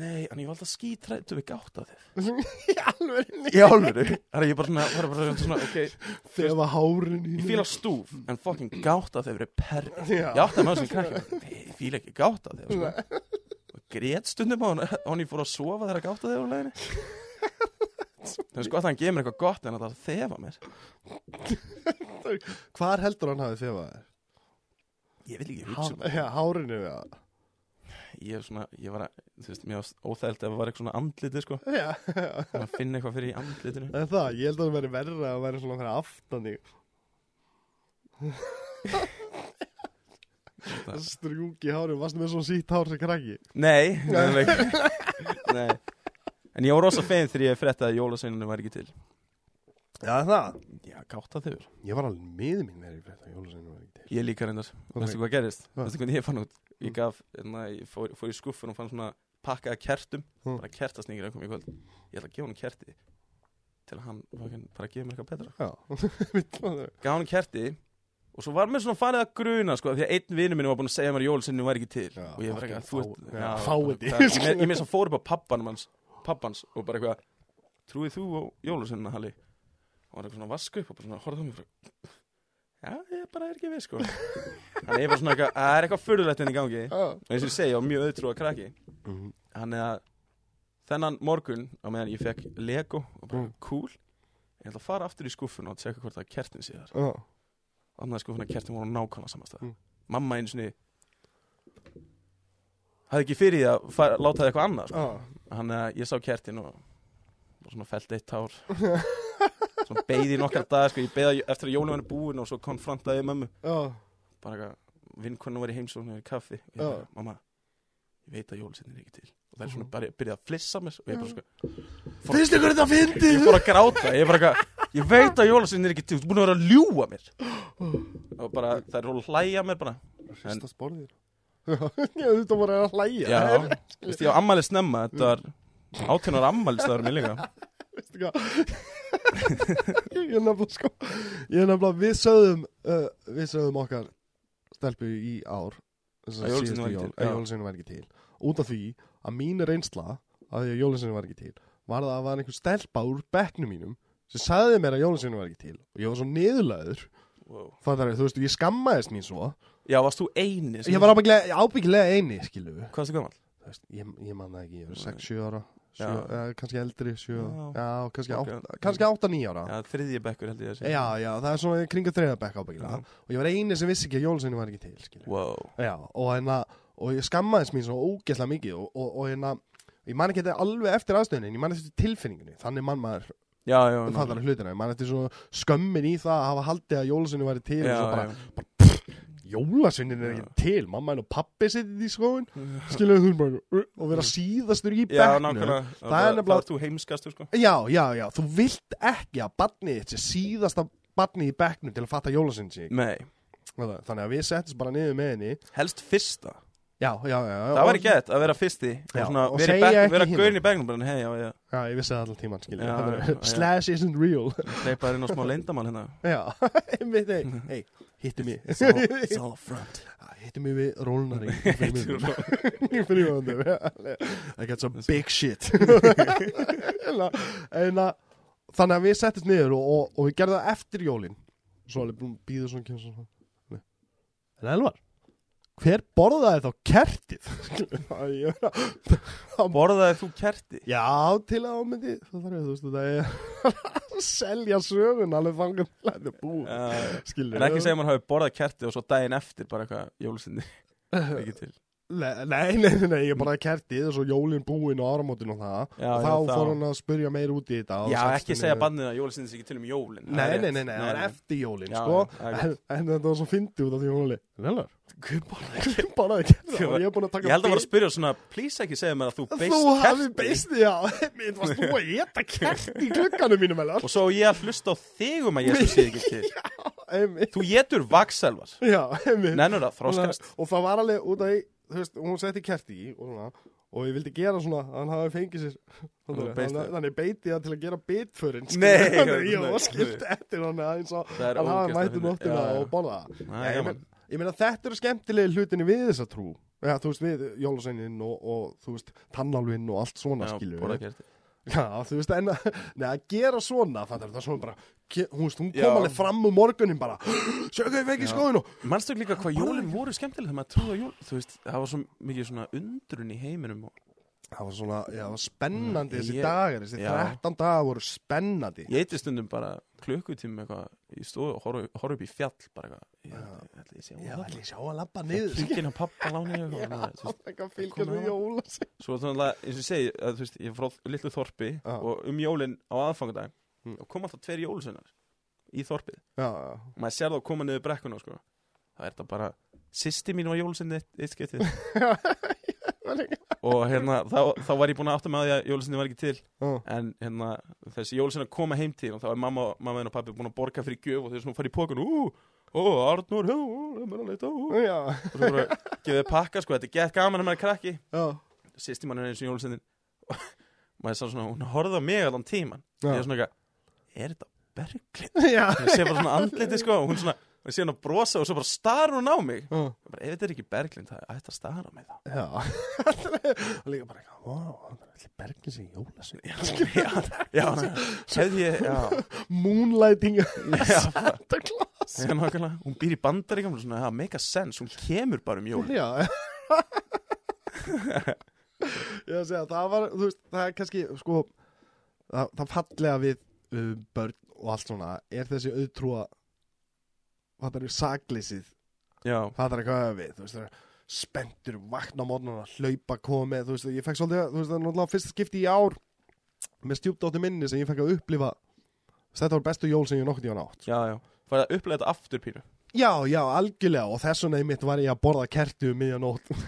Nei, en ég var alltaf skítrættu við gátt á þér
Í alveg
Í alvöru Þannig að ég bara svona, var bara svona, ok
Þefa hárin í
Ég fíla stúf, en fucking gátt á þér verið perri
Já,
Ég átti að maður sem krakki Nei, ég fíla ekki gátt á þér sko. Og grét stundum á hann Hann ég fór að sofa þegar að gátt á þér úr leiðinni Það er sko að hann gefur mér eitthvað gott en að það þefa mér
Hvar heldur hann hafi þefað þér?
Ég vil ekki hugsa um
Há- Já, hárinu, já
það Ég, er svona, ég var að, þú veist, mér var óþægild ef það var eitthvað svona andliti sko
Já, já.
Þannig að finna eitthvað fyrir í andlitinu
En það, ég held að það veri verra að vera svona fyrir aftan í
Það-
Strjúki hárinu, varstu með svona sítt hár sem krakki
Nei, nei, nei. nei. En ég var rosa fein þegar ég frettaði að jólasveinunum var ekki til
Já, það
Já, gáta þau
Ég var alveg miður mín þegar ég frétt að jólasveinu var ekki til
Ég líka reyndar,
Ok.
veistu hvað gerist?
Hvað?
Veistu hvernig ég fann út? Ég
Mm.
gaf, na, ég fór, fór í skuffun og fann svona pakkaða kertum
Mm.
Bara kertasningir að koma í kvöld Ég ætla að gefa hann kerti Til að hann fucking bara að gefa mér eitthvað betra
Já, mitt var það
Gaf hann kerti Og svo var mér svona farið að gruna sko Því að einn vinur minn var búin að segja mér að jólasveinunum var ekki til
Já,
Og ég var ekki að þú
fucking
ert
fá-
já,
já,
bara-
fáiði.
hvað- Ég me- ég meira að fór upp á pappanum hans Pappans og bara eitthvað Trúið þú á jólasveinuna Halli Og hann var eitthvað svona að vaska upp og bara svona horfði á mig og bara, Já, ég bara er ekki við sko Þannig ég bara svona eitthvað Það er eitthvað furðulegt enn í gangi Og eins og ég segi, ég var mjög auðtrú að krakki
Mhm.
Þannig að þennan morgun á meðan ég fekk Lego og bara
Mm.
cool Ég ætla að fara aftur í skúffuna og tjekka hvort það er kertin síðar
Já,
annaði skúfuna kertin sko voru á nákvæmlega samastað
Mm.
mamma einu sinni hafði ekki fyrir því að fara, láta það eitthvað annað sko.
já
hann að ég sá kertin og og svona felt eitt tár svona beigði í nokkar dag sko. ég beigði eftir að jólum henni búin og svo konfrontaði ég mömmu
Já,
bara eitthvað vinkonu var í heimsóknu í kaffi og ég
Já. Mm.
bara, mamma, ég veit að jólusinni er ekki til og það er svona bara byrjað að flissa mér og ég bara sko Fór-
Finnst ykkur þetta fyndið?
ég fór að gráta ég, bara, eitthvað, ég veit að jólasinn er ekki til þú ert búin að vera að ljúa mér og bara það er að hlæja mér bara En-
Fyrsta spórðir Já, þetta voru að hlæja
já, veist, ég á ammæli snemma þetta var 18 ára ammæli staður mér líka
Veistu hvað Ég er nefnilega sko Ég er nefnilega, við sögðum uh, Við sögðum okkar stelpu í ár þess
Að jólasveinar var ekki
jól,
til, já.
að jólasveinu var ekki til Út af því að mín reynsla að því að jólasveinu var ekki til var það að var einhver stelpa úr bekknum mínum sem sagði mér að jólasveinu var ekki til og ég var svo niðurlaður
wow.
Fattar, þú veist, ég skammaðist mín svo
já, varst þú eini sem-
Ég var ábyggilega, ábyggilega eini, skilu Þú
hvað er það gammal?
veist, ég, ég man það ekki, ég var
Nei.
6-7 ára sjö,
Já.
eh, kannski eldri, 7
Já.
Já, kannski
Ok.
8-9 kannski átta, níu ára
já, þriðji bekkur held ég að sé
Já, já, það er svona kringa þriðabekk ábyggilega
Mhm.
og ég var eini sem vissi ekki að jólasveinu var ekki til skilju.
wow.
Já, og hérna og ég skammaðist mín svo ógeðslega mikið og, og, og hérna, ég man ekki þetta alveg eftir aðstöðunin, ég man eftir tilfinningunni þannig mann maður
já, já, já,
fattar hlutina, ég man eftir svona skömmin í það að hafa haldið að jólasveinu væri til og
já,
svo bara,
já.
jólasveinin er
Já.
ekki til mamma henn og pappi sittir í skóin skiljuðu hún bara, "Uh," og vera síðastur í
já,
bekknum
nákvæmlega
er
það er
nefnilega-
þú heimskastur sko
Já, já, já, þú vilt ekki að barnið þitt sé síðasta barnið í bekknum til að fatta jólasveinin sé
nei,
Þannig að við settum bara niður með henni
helst fyrsta
Já, já, já já.
það var í gett að vera fyrsti
Já,
og svona
og
vera, í
segja
bekk,
ekki
vera
hinum.
gaurin í bekknum bara, hei, já, já,
Já, ég vissi það allan tíman, skilja
Já,
já,
já, já.
Slash isn't real
leipaði inn á smá leindamál hérna
Já, einmitt, hey, hey Hittu mig
It's all, it's all front
Ah, Hittu mig við rólnari
Þetta
Fríðandur I got some big shit Hérna, hérna, Þannig að við settist niður og, og, og við gerðum það eftir jólin Svo alveg búin býður svona kemur svona Nei. En Elvar Hver borðaði þá kertið? Æ, ég er að
Borðaði þú kerti?
Já, til að ámyndi Það þarf ég, þú veist, það er að selja sögun alveg fangum til að þetta er búið
Uh,
Skilur
en ekki segja að mann hafi borðað kerti og svo daginn eftir bara eitthvað jólusinni ekki til
Nei, nei, nei, nei, nei, ég bara kertið og svo jólin búin og áramótin og það
Já,
og
já,
þá
þá-
fór hann að spurja meir út í þetta og
Já,
settist
ekki
niður.
segja bannið að jólusinni sé ekki til um jólin
Nei, nei, nei, nei, nei, það er eftir jólin,
Já,
sko
já, það er
en, en þetta var svo fyndi út af því hún Lelar,
Guð, borðaði-
hvernig bara það kertið
Ég var-
og ég er búin að taka
Ég held að
bit-
var að spyrja svona Please ekki segja mér að þú beist
Þú hafi
kerti
beist, já, mér varst þú að geta kerti í klukkanum mínum, Lelar
Og svo á ég að hlusta á þig um að Jésu sé ekki til
Einmitt,
Þú getur vakselvar
já, einmitt
Nennur það, þróskast
og það var alveg út af því, þú veist, hún setti kerti í og svona og ég vildi gera svona að hann hafi fengið sér
var
þannig,
beist
þannig,
þig.
þannig beiti það til að gera bitförin sko.
Nei,
þannig
nei,
ég var
nei.
skipt eftir hann eins og
Það er
hann hafi
ógeðslega
mættu
fyndið.
nóttina
Já, já.
og borða það
Nei,
ég,
gaman.
men- ég meina þetta eru skemmtilegi hlutinni við þessa trú Já, þú veist, við Jólasveinin og, og þú veist, Tannalvin og allt svona
Já,
skilju
borða kerti.
Já, þú veist, en að, nei, að gera svona, fattar þetta svona bara, ke- hún veist, hún
Já.
kom alveg fram úr morgunin bara, sjöku við ekki
Já.
skóðinu.
Manstu líka hvað jólin voru skemmtileg þegar maður trúði á jól Þú veist, það var svo mikið svona undrun í heiminum og...
Það var svona, já, það var spennandi
Mm,
þessi
ég-
dagar, þessi
já.
13 dagar voru spennandi.
Ég eitthvað stundum bara klukkutíma eitthvað Ég stóð og horf, horf upp í fjall bara eitthvað
Já.
Ég- ég- ætli Ég sé
Já,
hún
ætli ég sjá að labba
þarna.
niður.
Kíkin á pappa láni ég eitthvað svona, þú
Það
veist.
er ekki að fylgja
Koma
með
þarna.
jóla
Svo þannig að, eins og ég segi að, Þú veist, ég er frá litlu þorpi
Já.
Og um jólin á aðfangadag
Mm.
Og kom alltaf tveir jólusunar Í þorpið
Já, já.
Og maður sér þá koma niður brekkuna sko Það er þetta bara Sýsti mín var jólusunni eitt, eitt skeitið Og hérna, þá, þá var ég búin að átta með því að jólusunni var ekki til
Já.
en hérna, þessi jólisinn að koma heim til og þá er mamma, mamma henn og pappi búin að borga fyrir gjöf og þau svona farið í pókun ú, ó, Arnur, hú, hú, hú, hú
Já,
og svo bara gefið pakka, sko, þetta er gett gaman að maður er krakki
já.
sýsti mann er eins og jólisinnin maður sá svona, hún horfði á mig allan tíman
Já.
ég er svona eitthvað, er þetta berglið?
Já.
ég sé bara svona andliti, sko, og hún svona og sé hann að brosa og svo bara starur hún á mig
Já.
Ég bara, ef þetta er ekki berglind, það er ætti að stara á mig þá
Já. Og líka bara, eitthvað, wow, hann er allir bergin sem jóla
já, já, hefði ég, já,
Moonlighting
já
Santa Claus.
Já, nákvæmlega, hún býr í bandaríkjum svona, það make a sense, hún kemur bara um jól
Já Ég að segja, það var, þú veist, það er kannski, sko, það, það fallega við uh, börn og allt svona er þessi auðtrúa, það er saklýsið,
Já,
það er eitthvað við, þú veist, það er spenntur, vakna á morgun að hlaupa komið, þú veist, ég fekk svolítið, þú veist, það er náttúrulega fyrsta skipti í ár með stjúpdóttu minni sem ég fekk að upplifa, þetta var bestu jól sem ég nokkuð í hann átt,
já, já Færið að upplega þetta aftur pínu
Já, já, algjörlega og þess vegna einmitt var ég að borða kertu um miðjanótt og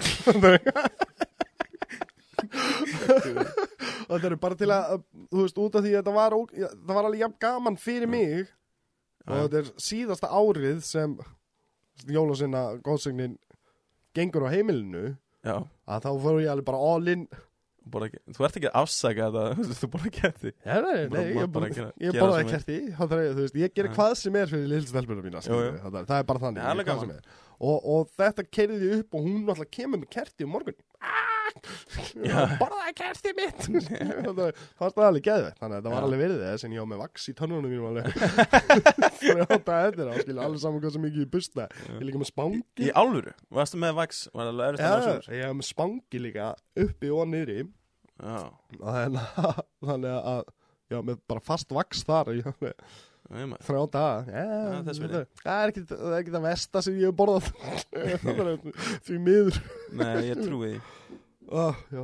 þetta eru bara til að þú veist, út af því að þetta var, ók- já, það var alveg jafn gaman fyrir mig og
Já.
þetta er síðasta árið sem jólasinna góðsögnin gengur á heimilinu
Já,
að þá fór ég alveg bara all in
bara ekki, þú ert ekki að afsaka þetta, þú bara geti
Já, nei,
Bara-
nei, ég,
bara
bara,
gera-
ég
gera
borðaði
sem er.
kerti það er, þú veist, ég gera
Já.
hvað sem er fyrir lillstelpunum mína skilur
Jú,
við, það, er- það er bara þannig
Já,
ég
alveg
hvað
gaman.
sem er. og, og þetta keiriði upp og hún náttúrulega kemur með kerti um morgun ah, borðaði kerti mitt það er- það var alveg geðveitt þannig að það var
Já.
alveg verið þess en ég á með vaks í tönnunum mínum alveg þrjóta eftir á skilja alveg saman hvað sem ekki ég busta ég er líka með spangi
Í álfuru, varstu með vax, var það lögur
Já,
stundar
ég er með spangi líka uppi og niðri
Já,
þannig að, þannig að já, með bara fast vaks þar ég,
það er maður
þrjá daga
Já,
yeah,
þess
það,
virði.
það er ekki það, er ekki það mesta sem ég hef borðað Það er því miður
Nei, ég trúi því
ah, já.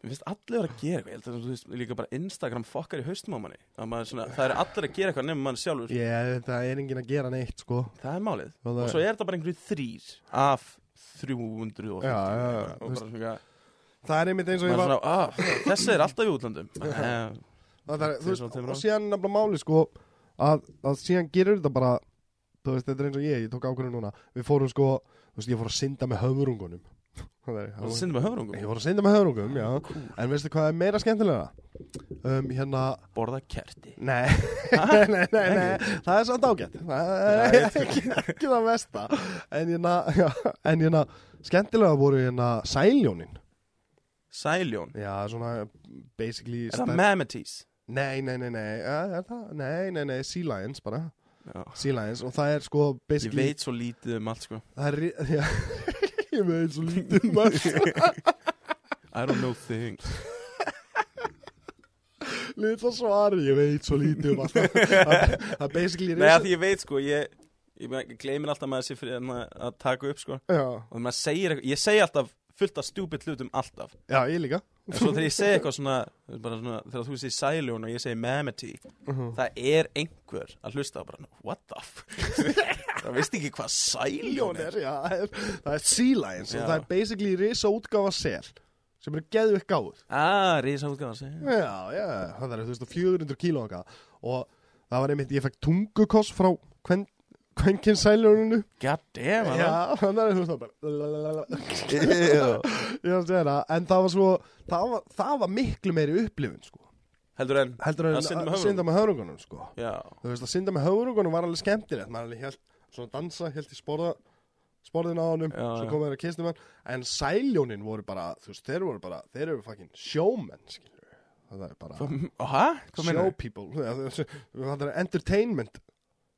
Mér finnst allir vera að gera eitthvað, ég held að þú veist líka bara Instagram fokkar í haustum á manni Að maður svona, það eru allir að gera eitthvað nefnum mann sjálfur
ég, það er enginn að gera neitt sko.
Það er málið
Og það
Og svo er þetta bara einhverju þrýr af 350 og
Já, já, já.
bara svona,
það er einmitt eins og
maður
ég var
svona, ah, þessi er alltaf í útlandum Eh,
það er, þú
Þeir
veist,
svona tveimur
og
árum.
síðan nefnilega máli sko, að, að síðan gerur þetta bara þú veist, þetta er eins og ég, ég tók ákvörðu núna við fórum sko, þú veist, ég fór að synda með höfurungunum það er,
Það sinni með höfrungum
ég fór að synda með höfurungum, já en veistu hvað er meira skemmtilega um, hérna,
Borða kerti
Nei, nei, nei, nei, nei, það er samt ágætt Það
Já,
er
ég trúi.
ekki, ekki það mesta En hérna, já, en hérna Skemmtilega voru hérna sæljónin
Sæljón
Já, svona basically
Er það
stær-
memetis?
Nei, nei, nei, nei, ja, er það? Nei, nei, nei, sea lions bara
Já
Sea lions og það er sko
Ég
basically
veit svo lítið um allt sko
Það er, ri- já, ég veit svo lítið um allt.
I don't know things
Lítið svari, ég veit svo lítið um allt Það það er basically
Nei að því ég veit sko Ég, ég, meina, ég gleymir alltaf maður sér fyrir en að, að taka upp sko
Já,
Og maður segir eitthvað Ég segi alltaf fullt af stúpid hlutum alltaf
já, ég líka
En svo þegar ég segi eitthvað svona, bara svona Þegar þú segir sæljón og ég segi memeti
Mhm.
Það er einhver að hlusta á bara What the f Það veist ekki hvað sæljón er
Milljónir, já, það er- það er Sea Lions og
Já.
það er basically risa útgáfa sel sem eru geðvikt gáður
Ah, risa útgáðan
Já, já, það er, þú veist, 400 kíló og eitthvað. og það var einmitt, ég fekk tungukoss frá kvenkin sæljóninu
God damn Anna.
Já, þannig er, þú veist, það bara lalalala.
Ew.
Ég var að segja það, en það var svo það var, það var miklu meiri upplifun, sko
Heldur en
heldur en
Að synda með
að synda með höfrungunum, sko
Já
Þú veist, að synda með höfrungunum var alveg skemmtilegt maður alveg held svona dansa, held í sporða sporðin á honum,
Já,
svo
já.
komið þeir að kistum hann en sæljónin voru bara, þú veist, þeir voru bara þeir eru fucking showmen, skilur við. það er bara
Hæ? Hvað meina?
show people Já, þú veist, það er entertainment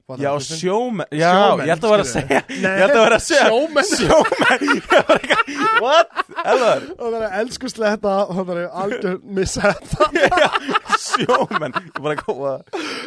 Fattar
Já,
þú sem-
sjómen Já,
Sjómenn,
ég held að vera að
skilur
segja
Nei,
Ég held að vera að segja
sjómenn.
Sjómen Ég var eitthvað What? Elvar
það er elsku sletta og það er algjör missetta
Sjómen Ég bara góða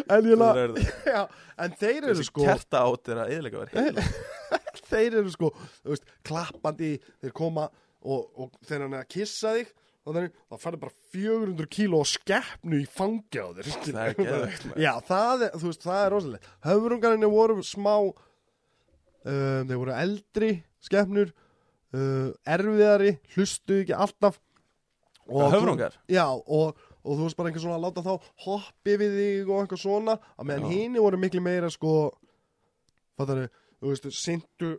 en ég la
Það er það.
já, en þeir eru
Þessi
sko
kerta át er að eðlega vera
þeir eru sko, þú veist, klappandi þeir koma og, og þegar hann er að kissa þig og þannig, þá færðu bara 400 kíló á skeppnu í fangi á þér skilur.
Það er geðveikt, maður.
Já, það er, þú veist, það er rosalegt Höfrungarnir voru smá um, Ehm, þeir voru eldri skepnur uh, erfiðari, hlustu ekki alltaf Og þú-
Höfrungar?
Já, og, og þú veist bara einhver svona að láta þá hoppi við þig og einhver svona að meðan
Já.
hini voru miklu meira sko fattari, þú veist, sindu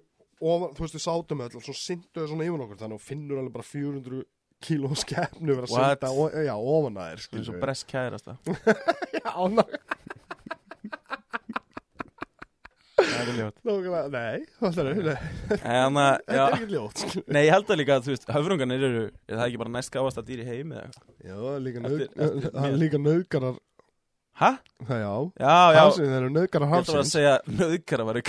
ofan, þú veist, við sátum öll og svo sindu þau svona yfir okkur, þannig að þú finnur alveg bara 400 kíló skefnu verið að
What?
synda, o- já, ofan að þér
Það er
skilur
svo
við.
brest kærast það
Já, ná-
er ljótt
nákvæmlega, nei, fattari, nei,
En að
þetta er
Já
ekki ljótt skilur við.
Nei, ég held að líka að, þú veist, höfrungarnir eru, er það ekki bara næst gáðast að dýr í heimi eða eitthvað?
Já, líka,
Eftir-
naug,
eftir-
hann
mér.
líka naukarar,
Hæ?
það já,
Já, já, ég
hafsinn, þeir eru naukarar
held að vera að
hafsinn
segja nöðkara að vera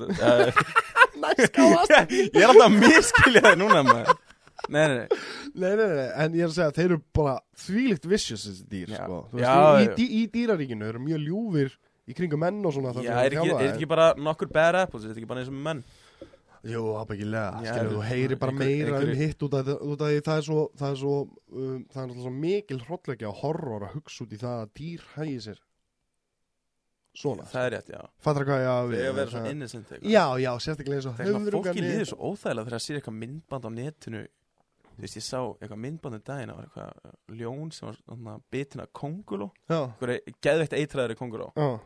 Uh,
Næst gáðast
ég er alltaf að miskilja það núna, maður. Nei, nei, nei.
Nei, nei, nei, en ég er að segja að þeir eru bara þvílikt vicious þessi dýr,
Já.
sko. Þú
Já,
veist, í,
já.
í, dý- í dýraríkinu eru mjög ljúfir í kringum menn og svona. þar
Já,
sem þeir
er ekki,
þjálfa
er
þeir.
ekki bara nokkur bad apples, er þetta ekki bara eins og með menn?
Jú, ábyggilega,
Já,
skilur,
er-
þú heyri bara
einhver-
meira
einhverju-
um hitt út af, því- út af því það er svo, það er svo, um, það er náttúrulega svo mikil hrottleikja og horror að hugsa út í það að dýr hægi sér svona.
Það er rétt, já.
Fattar hvað ég á við?
Það er að vera
það-
svona innocent eitthvað.
Já, já, sérstaklega eins og
Það er svona fólki
höfrungarnir.
líður svo óþægilega þegar það sér eitthvað myndband á netinu. Þú veist, ég sá eitthvað myndband um daginn, það var eitthvað uh, ljón sem var svona bitin af konguló.
Já,
Eitthvað geðveikt eitræður í konguló.
já,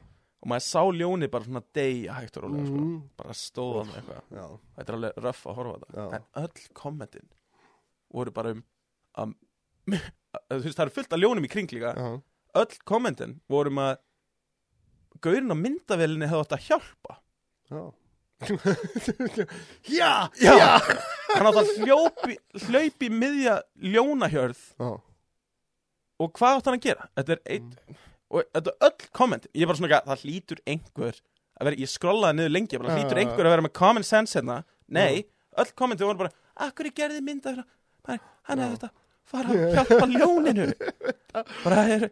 Og maður sá ljóni bara svona deyja hægt og rólega, sko.
Mhm.
Bara stóðan eitthvað.
já,
Þetta er alveg röff að horfa á þetta
Já.
En öll kommentin voru bara um að, að, þú veist, Það eru fullt af ljónum í kring líka
já.
Öll kommentin voru um að Gaurin á myndavélinni hefði átt að hjálpa
Já, já,
Já. Hann átt að hljópi, hlaupi miðja ljónahjörð
já.
Og hvað átt hann að gera? Þetta er
Mm.
eitt Og þetta er öll kommentin Ég er bara svona ekki að það hlýtur einhver að vera, Ég skrollaði niður lengi, ég bara
Já,
hlýtur
já, já.
einhver að vera með common sense hérna Nei,
Mm.
öll kommentin voru bara Akkur er gerði myndavél Hann
Já.
hefði þetta fara að hjálpa ljóninu bara það er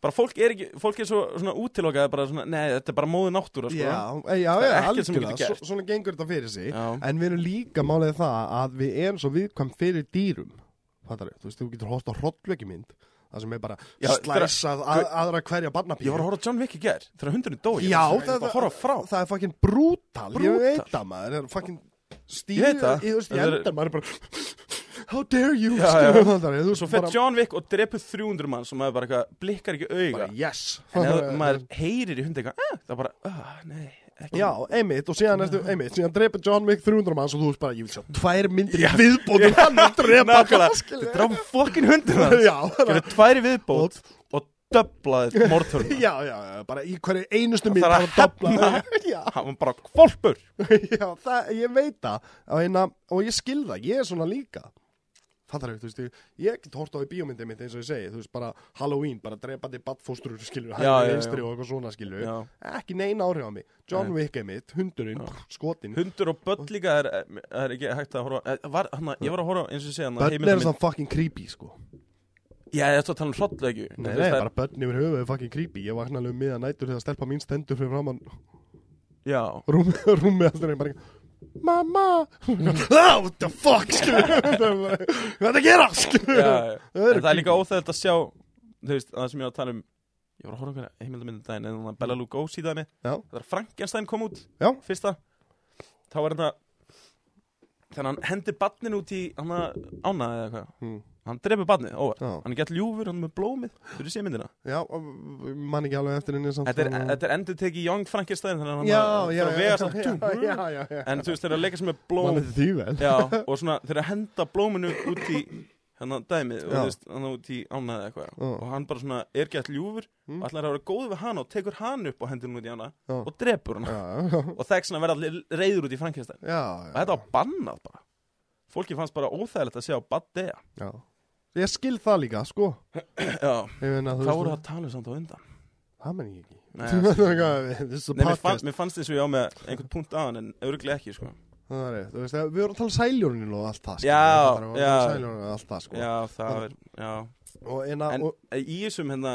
bara fólk er ekki, fólk er svo svona útilokað bara svona, nei, þetta er bara móðu náttúra sko.
Já, e, já, já,
Það er ekkert sem
algjörlega,
getur gert.
Svo- svona gengur þetta fyrir sig
Já.
En við erum líka málið það að við erum svo viðkvæm fyrir dýrum Fattar, þú veist, þú getur hótt á hrottveikimynd Það sem er bara
Já,
slæsað að, aðra hverja
ég
barnapíu
var að horfa á John Wick í gær þegar hundurinn dói
Já,
ég
það,
var að horfa frá
það er fucking brútal, Ég
Brútal.
veit það maður, það er fucking stíð
Ég veit það.
Ég, þú veist, ég
Þetta er-
enda maður er bara How dare you
Já,
skilur þú,
já.
fattar, þú veist,
svo fer
bara-
John Wick og drepur 300 mann sem maður bara eitthvað, blikkar ekki auga
bara, Yes
en ef
Fattar,
maður heyrir í hundi eitthvað eh, það er bara, ah, nei, ekki
Já, einmitt, og síðan ertu, einmitt, síðan drepa John Wick 300 manns og þú veist bara, ég vil sjá tvær myndir í viðbótum hann að drepa
nákvæmlega,
skilur.
þið dráfum fokkin hundurinn hans
Já, bara-
gerðu tværi viðbót og döblaði mortörn
já, já, já, bara í hverju einustu mynd
þarf að
bara
hefna.
dobla. Já,
hann var bara kvolpur
já, það, ég veit það á eina, og ég skil það, ég er svona líka Fattar við, þú veist, ég- ég get hort á í bíómyndið mitt eins og ég segi, þú veist, bara Halloween, bara drepandi badfóstrur, skilur,
Já,
hægri
já, já.
vinstri og eitthvað svona, skilur
Já.
Ekki neina áhrif á mig, John Wick er mitt, hundurinn, skotin
Hundur og börn líka er, er ekki hægt að horfa eh, var, hana, Ég var að horfa eins og segja hana
Bönn er
heimildamynd-
svona fucking creepy, sko
Já, ég ætla að tala um hrottleikju
Nei, nei, bara börn yfir höfuð er fucking creepy Ég vakna alveg miða nætur þegar stelpa mín stendur fyrir framann
Já,
rúmi, rúmi alltaf reynd bara eitthvað, Mamma Oh, what the fuck skilur við. Það er bara, Hvað er það að gera? skilur
já,
við.
já.
eru
En það er líka
creepy.
óþægt að sjá Þú veist, það sem ég var að tala um Ég var að horfa einhverja heimildamyndin daginn En þannig að Bella Lugosi dæmi
Mm. Já.
Það er Frankenstein kom út
Já.
Fyrsta Þá var þetta Þannig að hann hendir badnin út í hana, ána eða eitthvað
Mm.
Hann drefur badnið, óvart
Já.
Hann er gett ljúfur, hann er með blómið Þú veist ég myndina
Já, og man ekki alveg eftir henni samt
Þetta er,
þannig að-
þetta er endur tekið Young Frankenstein Þannig að hann
Já,
að-
já,
fyrir að
já,
vega samt
já,
dú-
já, já, já
En þú veist, þeir eru að leika sem með
Man
blóm
veit því vel
Já, og svona þeir eru að henda blóminu út í hennan dæmið
Já.
og þú veist, hann út í ánaði eitthvað
Já.
og hann bara svona er gætt ljúfur
Mm.
og ætlar að vera góð við hana og tekur hann upp á hendunum út í ána
Já.
og drepur hann
já, já,
og þegst hann að vera allir reyður út í Frankenstein
já,
og þetta var bannað bara fólki fannst bara óþægilegt að sjá Badea
já. Ég skil það líka, sko
Já,
Ég meina, þú
hvað voru það
veist,
að tala um samt á undan?
það menn ég ekki
Nei,
Það er eitthvað, This is a
Nei, mér, fann,
podcast
mér fannst eins og ég á með einhvern punkt á hann en örglega ekki, sko
Það er, þú veist, við vorum að tala um sæljónin og allt það sko.
Já,
Ég fattar, við vorum að tala um
já.
Sæljónin og allt það, sko
Já, það
Það-
er, já
Og eina,
En
og,
í þessum hérna,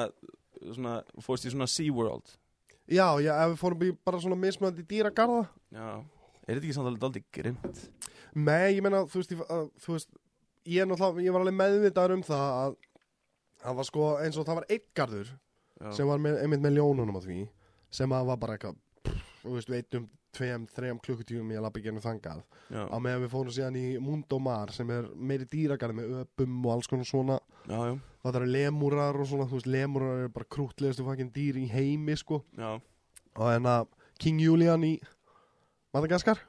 svona, fórst í svona SeaWorld
já, já, ef við fórum í bara svona mismunandi dýragarða
Já, er þetta ekki samt alveg daldið grimt?
Nei, ég meina, þú veist, ég, að, þú veist ég, er náttúrulega- ég var alveg meðvitaður um það að það var sko eins og það var einn garður
Já,
sem var með, einmitt með ljónunum á því sem að var bara eitthvað pff, þú veist, við eittum tveim, þreim klukkutíum í að labba í genið þangað
já,
á meðan við fórum síðan í Mundo Mar sem er meiri dýragarði með öpum og alls konar svona
já, já,
það eru lemúrar og svona, þú veist, lemúrar eru bara krútlegustu fangin dýr í heimi, sko
já
og en að King Julian í Madagaskar,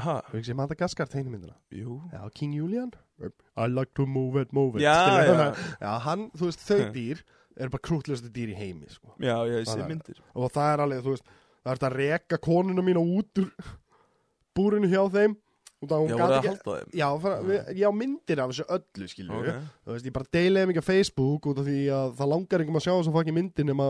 Ha,
þú veist, Madagaskar tegnimyndina
jú
Já, King Julian I like to move it, move it
Já,
Skilur
já.
það? já, hann, þú veist, þau
Hmm.
dýr eru bara krútlegustu dýr í heimi sko.
Já, ég sé
Það er-
myndir
og það er alveg, þú veist það er þetta að reka konuna mína út úr búrinu hjá þeim og það
Já,
hún
voru
gat
að
ekki
halda þeim
Já, fara, við, ég á myndir af þessu öllu, skilur
Ok,
okay. Þú veist, ég bara deilið mikið á Facebook út af því að það langar einhverjum að sjá þess að fá ekki myndir nema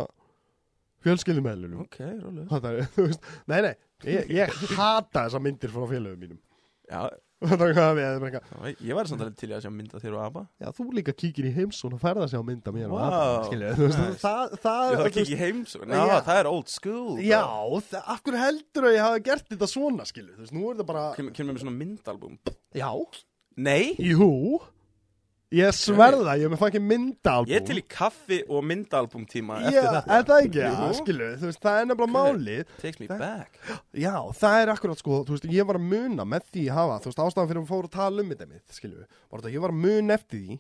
fjölskyldum meðlunum
ok, rólega
Það er, þú veist, nei, nei Ég, ég hata þessa myndir frá félögum mínum
Já,
Það er hvað við erum eitthvað
það var- ég væri samt alveg til í að sjá mynda þér og Abba
Já, þú líka kíkir í heimsón og ferða sér á mynda mér
Vá.
og aðra, skilja, þú veist,
Nice.
það, það,
Ég þarf að
Ah, þú veist,
kikið heims Já,
Já.
það er old school
Já, það, af hverju heldur að ég hafa gert þetta svona, skilja, þú veist, nú er þetta bara,
Kemur kemur með svona myndalbum
já,
Nei,
jú, ég sverða, ég er með fangin myndaalbum.
ég er til í kaffi og myndalbum tíma
Já,
eftir þetta
er það ekki,
Jú.
já, skilja, þú veist, það er nefnilega
Ok.
málið,
Takes me
Það-
back
já, það er akkurat, sko, þú veist, ég var að muna með því að hafa, þú veist, ástæðan fyrir að fóra að tala um þetta mitt, skilja, var þetta, að ég var að muna eftir því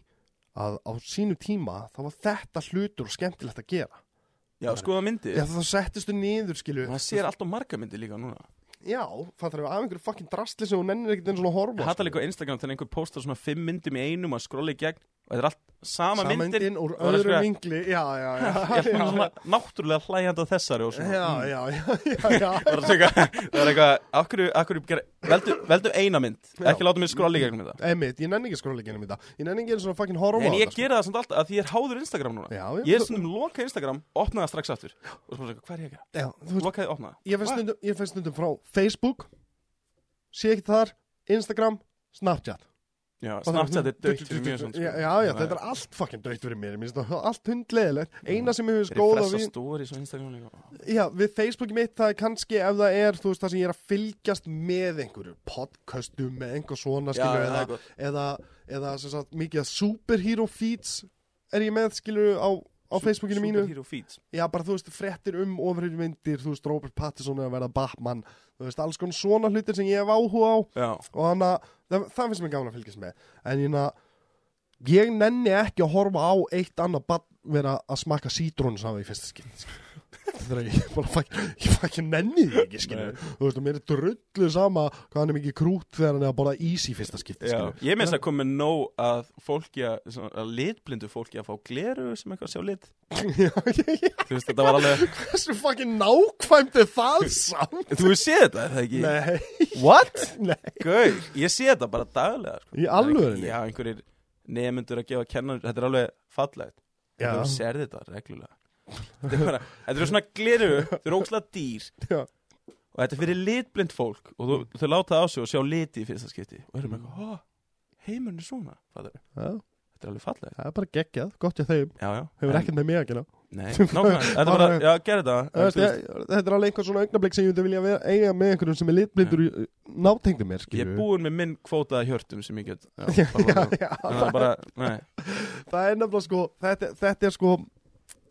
að á sínum tíma, þá var þetta hlutur og skemmtilegt að gera.
Já, skoða myndir
Já, þá settistu niður, skilju,
Maður sér alltaf marga myndir líka núna
Já, það þarf af einhverju fucking drastli sem hún nennir ekkert einn svona að horfa sko.
Ég hata líka á Instagram þegar einhver postar svona fimm myndum í einum að skrolla í gegn og þetta er allt sama myndir
Samendin úr
og það er
öðru
skrifað-
vingli Já, já, já
Ég er bara svona náttúrulega hlægjandi á þessari og svona
Já,
mm.
já, já, já, já.
Það er eitthvað, það er eitthvað, akkur, akkur, veldu, veldu eina mynd,
Já.
ekki láta mig skrolla í gegnum þetta
Einmitt, ég nenni ekki skróleikinu í dag Ég nenni ekki einn svona fucking horfa
En
á
ég
þetta, sko.
gera það samt alltaf að því ég er háður Instagram núna
Já, já.
Ég er svona um loka Instagram, opna það strax aftur Og svo bara, hvað er ég að gera?
Já, þú veist,
Lokaði, opna það
ég finn stundum, ég finn stundum frá Facebook Sé ekki þar, Instagram, Snapchat
Já, Snapchat er dögt fyrir mjög svona sko.
Já, já, já, þetta er allt fucking dögt fyrir mér Mér finnst það allt hundleðilegt
Mm.
Eina sem ég hefur
Er ég
skóð á
fressa
því
stories á Instagram líka?
Já, við Facebooki mitt það er kannski ef það er, þú veist, það sem ég er að fylgjast með einhverju podcastum með einhver svona,
Já,
skilju,
já, það er
eða,
gott.
eða, eða sem sagt, mikið að superhero feeds er ég með, skilju, á, á Facebookinu mínu.
Superhero feeds
Já, bara, þú veist, frettir um ofriðmyndir, þú veist, Robert Pattinson er að verða Batman, þú veist, alls konar svona hlutir sem ég hef áhuga á
Já,
og þannig að það, það finnst mér gaman að fylgjast með. En ég, na, ég nenni ekki að horfa á eitt annað bann vera að smakka sítrónus af því í fyrsta skipti skilur. Það er ég bara fæk, ég fæk nenni því ekki, skilju. Þú veist, og mér er drullu sama hvað hann er mikið krút þegar hann er að borða ís í fyrsta skipti,
Já,
skilju.
ég minnst að koma með nóg að fólki að, svona, að litblindu fólki að fá gleru sem eitthvað sjá lit
Já, ég- ég-
Þú veist, þetta var alveg,
Hversu fækin nákvæmt er það samt?
þú hefur séð þetta, er það ekki?
Nei,
What?
nei.
Gauð, ég sé þetta bara daglega sko.
Í alvörinni?
Já, einhverjir nemyndur að gefa kennar Þetta er alveg fallegt
Já.
Þú sér þetta reglulega Þetta er bara, þetta eru svona gleru, þau eru ókslega dýr
Já.
Og þetta er fyrir litblind fólk Og þú, þau láta það á sig og sjá liti í fyrsta skipti Og erum eitthvað, hó, heimurinn er svona fattarðu?
Já,
Þetta er alveg fallegt
það er bara geggjað, gott ég þeim.
Já, já
Hefur
en-
ekkert með mig að gera.
Nei, nákvæmlega, þetta er bara, já, gerði
Þú veist,
þetta
ég- Þetta er alveg einhver svona augnablik sem ég myndi vilja vera- eiga með einhverjum sem er litblindur í- nátengdur mér,
Ég
skilju.
er búinn með minn kvótaða hjörtum sem ég get
Já,
Já, bara,
já,
Þannig að bara, nei,
það er nefnilega sko þetta, þetta er sko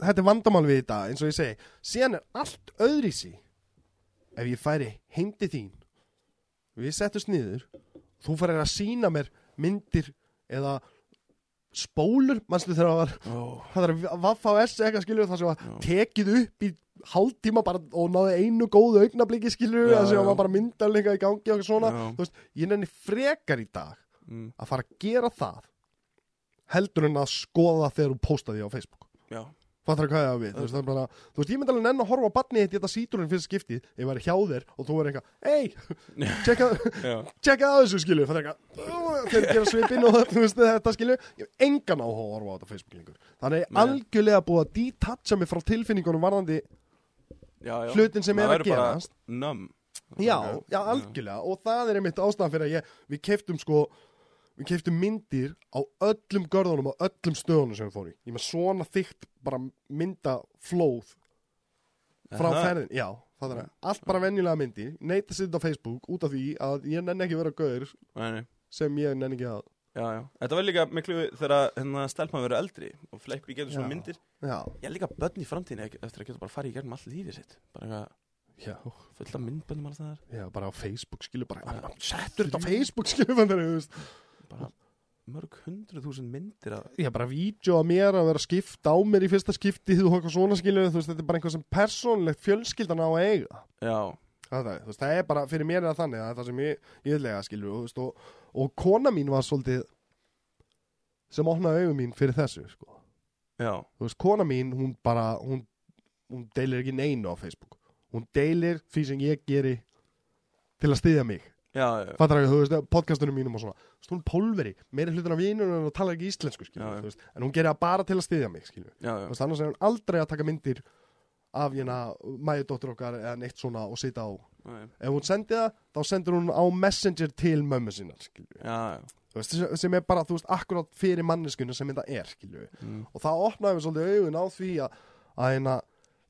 þetta er vandamál við þetta eins og ég segi síðan er allt öðrísi ef ég færi heim til þín við settust niður þú farir að sína mér myndir eða spólur mannstu þegar það var
ó,
það er vaffa á S E eitthvað skilur það sem var
Já.
tekið upp í hálftíma bara og náði einu góðu augnabliki skilur
Já,
það sem
já.
var bara myndalega í gangi og eitthvað svona
Já.
þú veist, ég nenni frekar í dag
mm,
að fara að gera það heldur en að skoða þegar þú posta því á Facebook
já,
Fattar hvað ég að við, þú veist, það er bara Þú veist, ég myndi alveg nenn að horfa á barnið þitt í þetta sítrun fyrst skipti Ég væri hjá þér og þú er eitthvað Ei, tjekka,
já,
tjekka að þessu skilu Fattar eitthvað, þeir gera svipin og þú veist þetta skilu Ég hef engan á að horfa á þetta Facebook lengur Þannig er
Nei.
algjörlega búið að detachja mig frá tilfinningunum varðandi
já, já.
Hlutin sem er
Maður
að
bara
gerast.
numb.
Já,
Ok,
já, algjörlega og það er einmitt ástæðan fyrir að ég, við keiftum sko við keiftum myndir á öllum görðunum á öllum stöðunum sem við fórum í ég er með svona þykkt bara myndaflóð frá
Aha.
ferðin, já, það er að allt bara venjulega myndir, neita að setja á Facebook út af því að ég nenni ekki að vera gauður
Nei, nei.
sem ég nenni ekki að
Já, já. Þetta var líka miklu þegar hérna, stelpann verið eldri og fleipi getur svona
Já.
myndir.
já,
Ég er líka börn í framtíðinu ek- eftir að geta bara farið í gegnum allt lífið sitt. Bara eitthvað
já,
fullt af myndböndum alls það
já, bara á Facebook skilur bara,
Já.
settur þetta á Facebook skilur bara, þú veist,
Bara mörg hundruð þúsund myndir að...
ég er bara vídeo að mér að vera skipt á mér í fyrsta skipti þú eitthvað svona skilur, þú veist, þetta er bara einhver sem persónlegt fjölskyldan á að eiga
Já,
Það, er, þú veist, það er bara, fyrir mér er það þannig það er það sem ég, ég vil eiga skilur og, þú veist, og, og kona mín var svolítið sem opnaði augu mín fyrir þessu sko.
já,
þú veist, kona mín, hún bara hún, hún deilir ekki neinu á Facebook hún deilir því sem ég geri til að styðja mig
já, já.
fattar ekki, þú veist, podcastunum mínum og svona þú veist, hún er pólveri, meiri hlutin af vinur en hún talar ekki íslensku, skilur
Já, já.
þú veist, en hún gerir það bara til að styðja mig, skilur
já,
þú
já.
veist, annars er hún aldrei að taka myndir af hérna mæðudóttur okkar eða neitt svona og sita á
Já, já.
ef hún sendi það, þá sendur hún á messenger til mömmu sínar, skilju
Já, já.
Þú veist, sem er bara, þú veist, akkurat fyrir manneskunum sem þetta er, skilju
Mm.
og það opnaði mér svolítið augun á því að að hérna,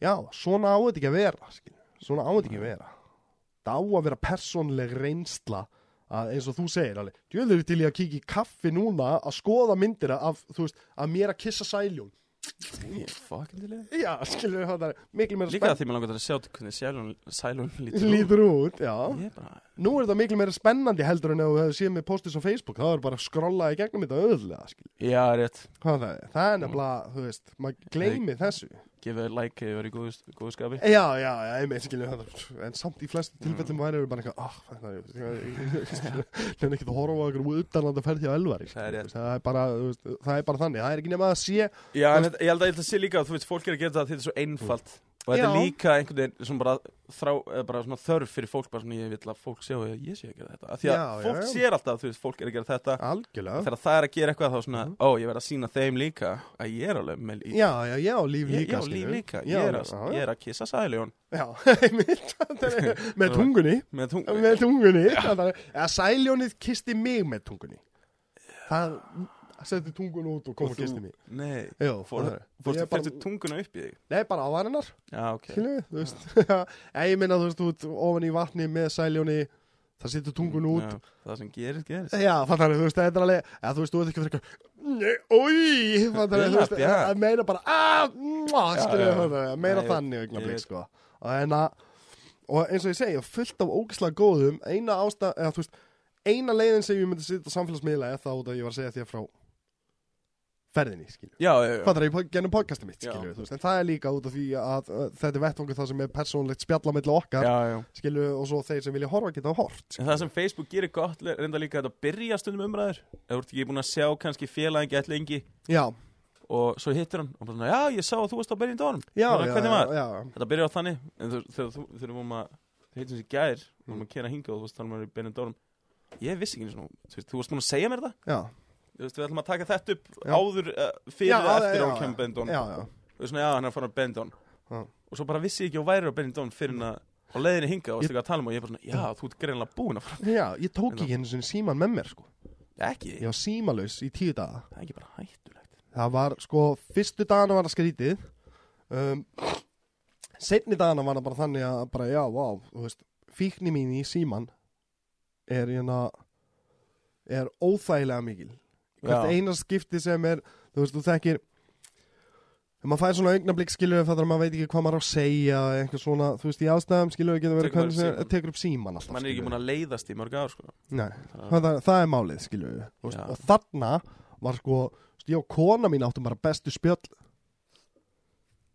já, svona á þetta ekki að vera skilju, svona á þetta ekki að vera það á að vera persónleg reynsla að eins og þú segir alveg, djöður til ég að kíkja í kaffi núna að skoða myndina af, þú veist, að mér að kissa sæljón
Ég er fucking til í það.
já, skilju, það er miklu meira
Líka
spennt
því maður langar til að sjá til hvernig sælun, sælun lítur út.
lítur út, já
Ég er bara,
nú er þetta miklu meira spennandi heldur en ef þú hefur séð með postis á Facebook þá er bara að skrolla í gegnum þetta auðlega skilju.
já, rétt.
hvað það er, það er nefnilega, þú veist maður gleymi þessu
Gefið þér like hefur verið í góðu, góðu skapi.
já, já, já, einmitt, skilju þetta- en samt í flestum tilfellum væri við bara eitthvað ah, nefnir ekki að horfa á einhverjum utanlanda ferði á elvari
Það
skilju.
er rétt.
það er bara, þú veist, það er bara þannig það er ekki nema að sé,
Já, en þetta- ég held að þetta sé líka að þú veist, fólk er að gera það því þetta er svo einfalt
Mm.
og þetta er
Já.
líka einhvern veginn svona bara, þrá, eða bara svona þörf fyrir fólk bara svona ég vil að fólk sjá að ég sé að gera þetta af því að
Já, já,
fólk
já.
sér alltaf að þú veist, fólk er að gera þetta
algjörlega
þegar það er að gera eitthvað þá svona, ó, ég verð að sína þeim líka að ég er alveg með líka
Mhm. já, já, já, líf
Ég, ég,
líka
á líf
skilju.
líka,
Já,
ég er, að,
já,
ég er að kissa sæljón
já, einmitt þetta er- með tungunni
með tung
með tungunni Þannig að- eða sæljónið kisti mig með tungunni það setti tungun út og kom og
þú-
kisti mig
Nei,
Jó,
fór,
það er-
fórstu
ég bara-
bara... tunguna upp í þig
nei bara á aðrinnar
Já, ok
okay. þú veist en ég minna þú veist út ofan í vatni með sæljóni það setti tungun út
Já, Það sem gerist, gerist
Já, fattar þú veist, þetta er alveg eða, Þú veist, þú veist ekki fyrir eitthvað Új, fattar þú veist
Vinafl, já.
Að meina bara að, mwah,
Já,
skilur,
já.
fattar, að Meina
Nei, ég-
þannig
ég
augnablik
veit.
sko. Og en að Og eins og ég segi, fullt af ógislega góðum Eina ástæð, eða þú veist Eina leiðin sem ég myndi sitja á samfélagsmiðla Er þá út að ég var að segja þér frá Ferðinni, skilur
Já, já, já,
Fattar ég gennum podcastum mitt,
Já.
skilur þú veist, En það er líka út af því að uh, þetta er vettvangur Það sem er persónlegt spjalla milli okkar
já, já.
Skilur, og svo þeir sem vilja horfa geta hort
En það sem Facebook gerir gott le- reynda líka þetta að byrja stundum umræður ef þú ert ekki búin að sjá kannski félagin gett lengi
Já,
og svo hittir hann og bara svona, já ég sá að þú varst á byrjum dónum
já,
Bara,
já,
hvernig
já,
var?
já.
Þetta byrjar á þannig en þú- þegar þú þegar við vorum að þegar hittum sér gær og
Mm.
vorum að kera hinga og þú veist þannig að við byrjum dónum ég vissi ekki einu sinni, þú veist, þú varst búin að segja mér þetta
Já,
Þú veist, við ætlum að taka þetta upp
Já.
áður uh, fyrir
Já,
eða
já, já,
eftir að hann
já.
kemur Bendón
já, já,
og svona já, hann er að fara á Bendón
Já.
og svo bara vissi ég ekki og væri á Bendón fyrir hann á leiðinni hinga og varstu eitthvað að tala um og ég bara svona, já, þú ert greinlega búin að fara
já, ég tók
Hérna.
ekki einu sinni síman með mér sko.
ekki,
ég var símalaus í tíu daga
það er ekki bara hættulegt
það var sko, fyrstu dagana var það skrítið um, setni dagana var það bara þannig að bara, já, vá, þú veist, fíkni mín í síman er hérna er óþægilega mikil hvert
Já.
einar skipti sem er þú veist, þú þekkir ef maður fær svona augnablík skilur það er að maður veit ekki hvað maður á að segja eitthvað svona, þú veist, í aðstæðum skilur getur verið
Tekur maður
hvernig sem
símann.
er- tekur upp síman alltaf
mann er ekki
skilurðu.
búin að leiðast í mörg ár sko.
Nei,
Þannig að-
það, það, það er málið, skilju veist,
Já.
og þarna var sko þú veist, ég og kona mín áttum bara bestu spjöll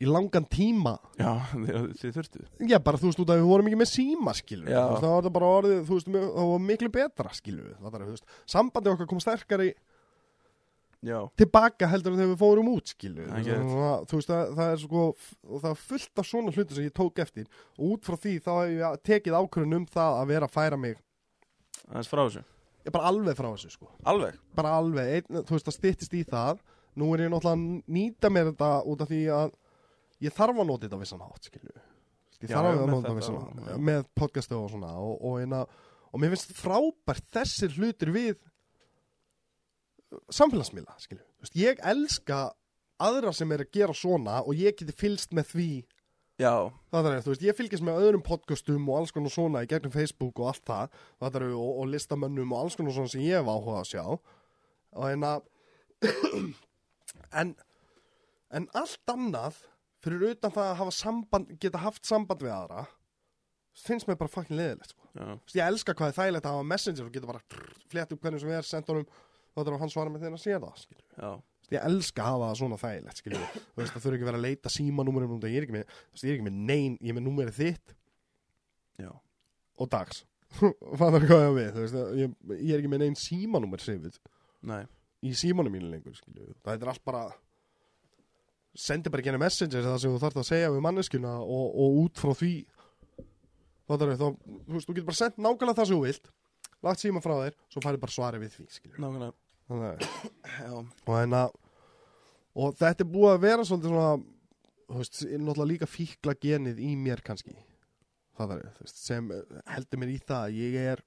í langan tíma
já, þið, þið þurftu
já, bara þú veist út að við vorum ekki með síma, skilju
Já.
Þú veist, það var það bara orðið, þú veist, mjög- það var miklu betra, skilju það var, þú veist, sambandi okkar kom sterkari
já,
tilbaka heldur en þegar við fórum út skilu
Það er ekki rétt.
það, þú veist það, það er sko og það er fullt af svona hlutu sem ég tók eftir og út frá því þá hef ég tekið ákvörðun um það að vera að færa mig
aðeins frá þessu
ég bara alveg frá þessu sko
Alveg,
bara alveg, einn, þú veist það styttist í það nú er ég náttúrulega að nýta mér þetta út af því að ég þarf að nota þetta á vissan hátt skilu ég
Já,
þarf
já,
að
með
nota þetta á
þetta
vissan
og-
hátt
já.
með podcastu og svona og, og, einna, og mér finnst frábært þessir hlutir við samfélagsmiðla skilu Vist, ég elska aðra sem er að gera svona og ég geti fylst með því
já,
Það er, þú veist, ég fylgist með öðrum podcastum og alls konar svona í gegnum Facebook og allt það, það er, og, og listamönnum og alls konar svona sem ég hef áhuga að sjá og en að en en allt annað fyrir utan það að hafa samband geta haft samband við aðra finnst mér bara fucking leðilegt sko.
já,
Þú veist, ég elska hvað er þægilegt að hafa messenger og geta bara flett upp hvernig sem er, senda honum þá þarf hann svara með þeirra að sé það skilur.
já,
Þú veist, ég elska að hafa það svona þægilegt skilju. þú veist það þurfi ekki að vera að leita símanúmerum núna, ég er ekki með, þú veist, ég er ekki með nein ég er með númerið þitt
já
og dags fattar hvað ég á við, þú veist, ég, ég er ekki með nein símanúmer sefið
Nei,
í símanum mínu lengur skilju. það er allt bara sendi bara genið messenger það sem þú þarft að segja við manneskuna og, og út frá því fattar þá, þú veist, þú getur bara sendt nákvæmlega það sem þú vilt lagt síma frá þér, svo færið bara svarið við því skilju.
nákvæmlega
þannig að
Já,
og þannig að og þetta er búið að vera svolítið svona þú veist, er náttúrulega líka fíkla genið í mér kannski það er, þú veist, sem eh, heldur mér í það að ég er,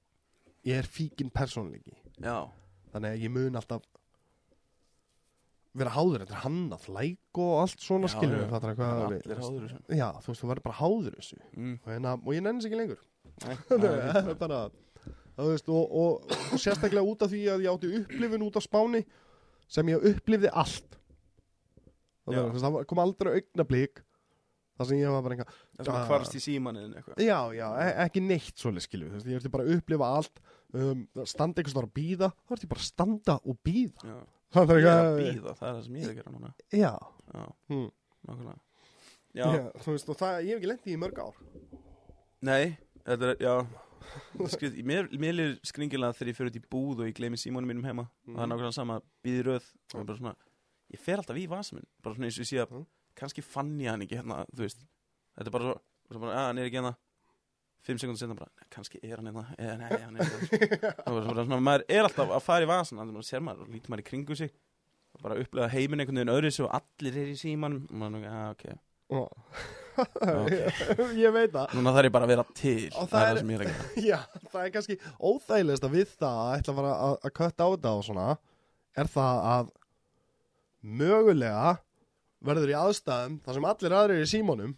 ég er fíkin persónleiki
já,
þannig að ég mun alltaf vera háður þetta er hann að læk og allt svona
Já,
skilur
já.
það er hvað
allir
við- þú veist.
háður þessu
já, þú veist, þú verður bara háður þessu
mm.
og, hérna, og ég nenni sér ekki lengur
Nei, það er
Það
fínt.
er bara það veist, og, og, og sérstaklega út af því að ég átti upplifun út af Spáni sem ég upplifði allt það,
Já.
er, það var- kom aldrei augnablík þar sem ég var bara enga
Það sem að hvarfst í símanin eitthvað
já, já, e ekki neitt svolítið skilju veist, ég ertu bara að upplifa allt um, standa einhvers þar að býða þá ertu bara að standa og býða
Já,
það
ég er að býða, það er það sem ég er að gera núna
já,
Já,
hm.
nákvæmlega
já.
Já,
þú veist, og það, ég hef ekki lendið í mörg ár
nei, þetta er, já Skrið, mér, mér er skringilega þegar ég fyrir út í búð og ég gleymi símanum mínum heima það er
Mhm.
nákvæmlega sama, býði röð og ég bara svona, ég fer alltaf í vasa minn bara svona eins og ég sé að,
Mm.
kannski fann ég hann ekki hérna, þú veist þetta er bara svo, og svo bara, að hann er ekki hérna fimm sekundar setna bara, "Nei, kannski er hann hérna eða nei, hann er ekki hérna það var svona, svona, maður er alltaf að fara í vasan þannig að maður sér maður og lítur maður í kringu sig og bara upplega heiminn einhvern veginn öðru og allir er í símanum og maður, að, ok,
ég veit það
núna þarf ég bara að vera til
Og það
það er
er-
það sem ég er að gera
Já, það er kannski óþægilegast að við það að ætla að fara að, að kötta á þetta og svona er það að mögulega verður í aðstæðum þar sem allir aðrir eru í símónum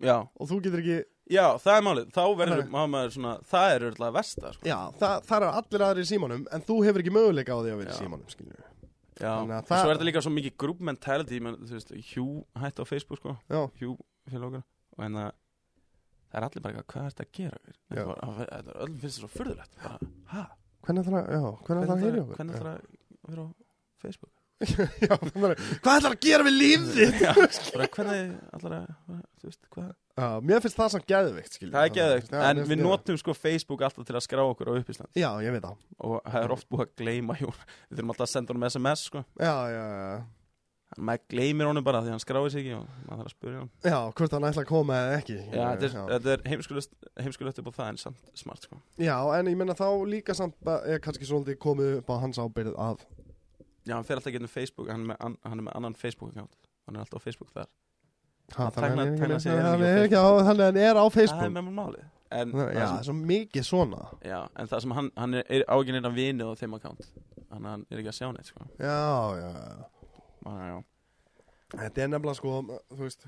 já,
og þú getur ekki,
já, það er málið, þá verður
Það-
maður svona, það er öll að versta sko.
já, það, þar eru allir aðrir í símónum en þú hefur ekki möguleika á því að vera í
Já.
símónum, skiljum við.
Já,
Þannig að
og
það-
svo er þetta líka svo mikið group mentality menn, þú veist, Hugh hætti á Facebook sko,
Já,
Hugh fyrir okkar og en að það er allir bara eitthvað, hvað er þetta að gera við?
Já.
Þetta er öllum finnst þetta svo furðulegt bara, ha,
hvernig ætlar að, já, hvernig ætlar að heyri okkur?
hvernig ætlar að vera á Facebook?
Já, það er, hvað ætlar að gera við lífið?
Já, bara, hvernig ætlar að, þú veist, hvað?
Já, mér finnst það samt geðvikt, skiljum
Það er geðveikt, en
mér
við
finnst
notum sko Facebook alltaf til að skrá okkur á uppisland
geðveikt. Já, ég veit það.
og það er oft búið að gleyma Jón, við þurfum alltaf að senda honum SMS sko,
Já, já, já.
en maður gleymir honum bara því hann skráði sig ekki og maður þarf að spyrja hann
Já, hvort hann ætlar að koma eða ekki.
Já, þetta er,
Já.
þetta er heimskulegt, heimskulegt upp á það en samt smart sko
Já, en ég menna þá líka samt ba- er kannski svolítið komið upp á hans ábyrð að
Já, hann fer alltaf getum Facebook, hann er með, an, hann er með annan Facebook account Hann er alltaf á Facebook þar
ha,
Hann tagnar-
þannig
tagnar
að
sig
hann
ekki á
er ekki á þannig að hann er á
Það er
Facebook
með mér málið en,
Það- Já,
það
svo mikið svona
sem, já, en það sem hann, hann er, er áginn innan vini á þeim account Þannig að hann er ekki að sjá neitt sko
Já, já, Ah, já
Þannig að já,
Þetta er nefnilega sko, þú veist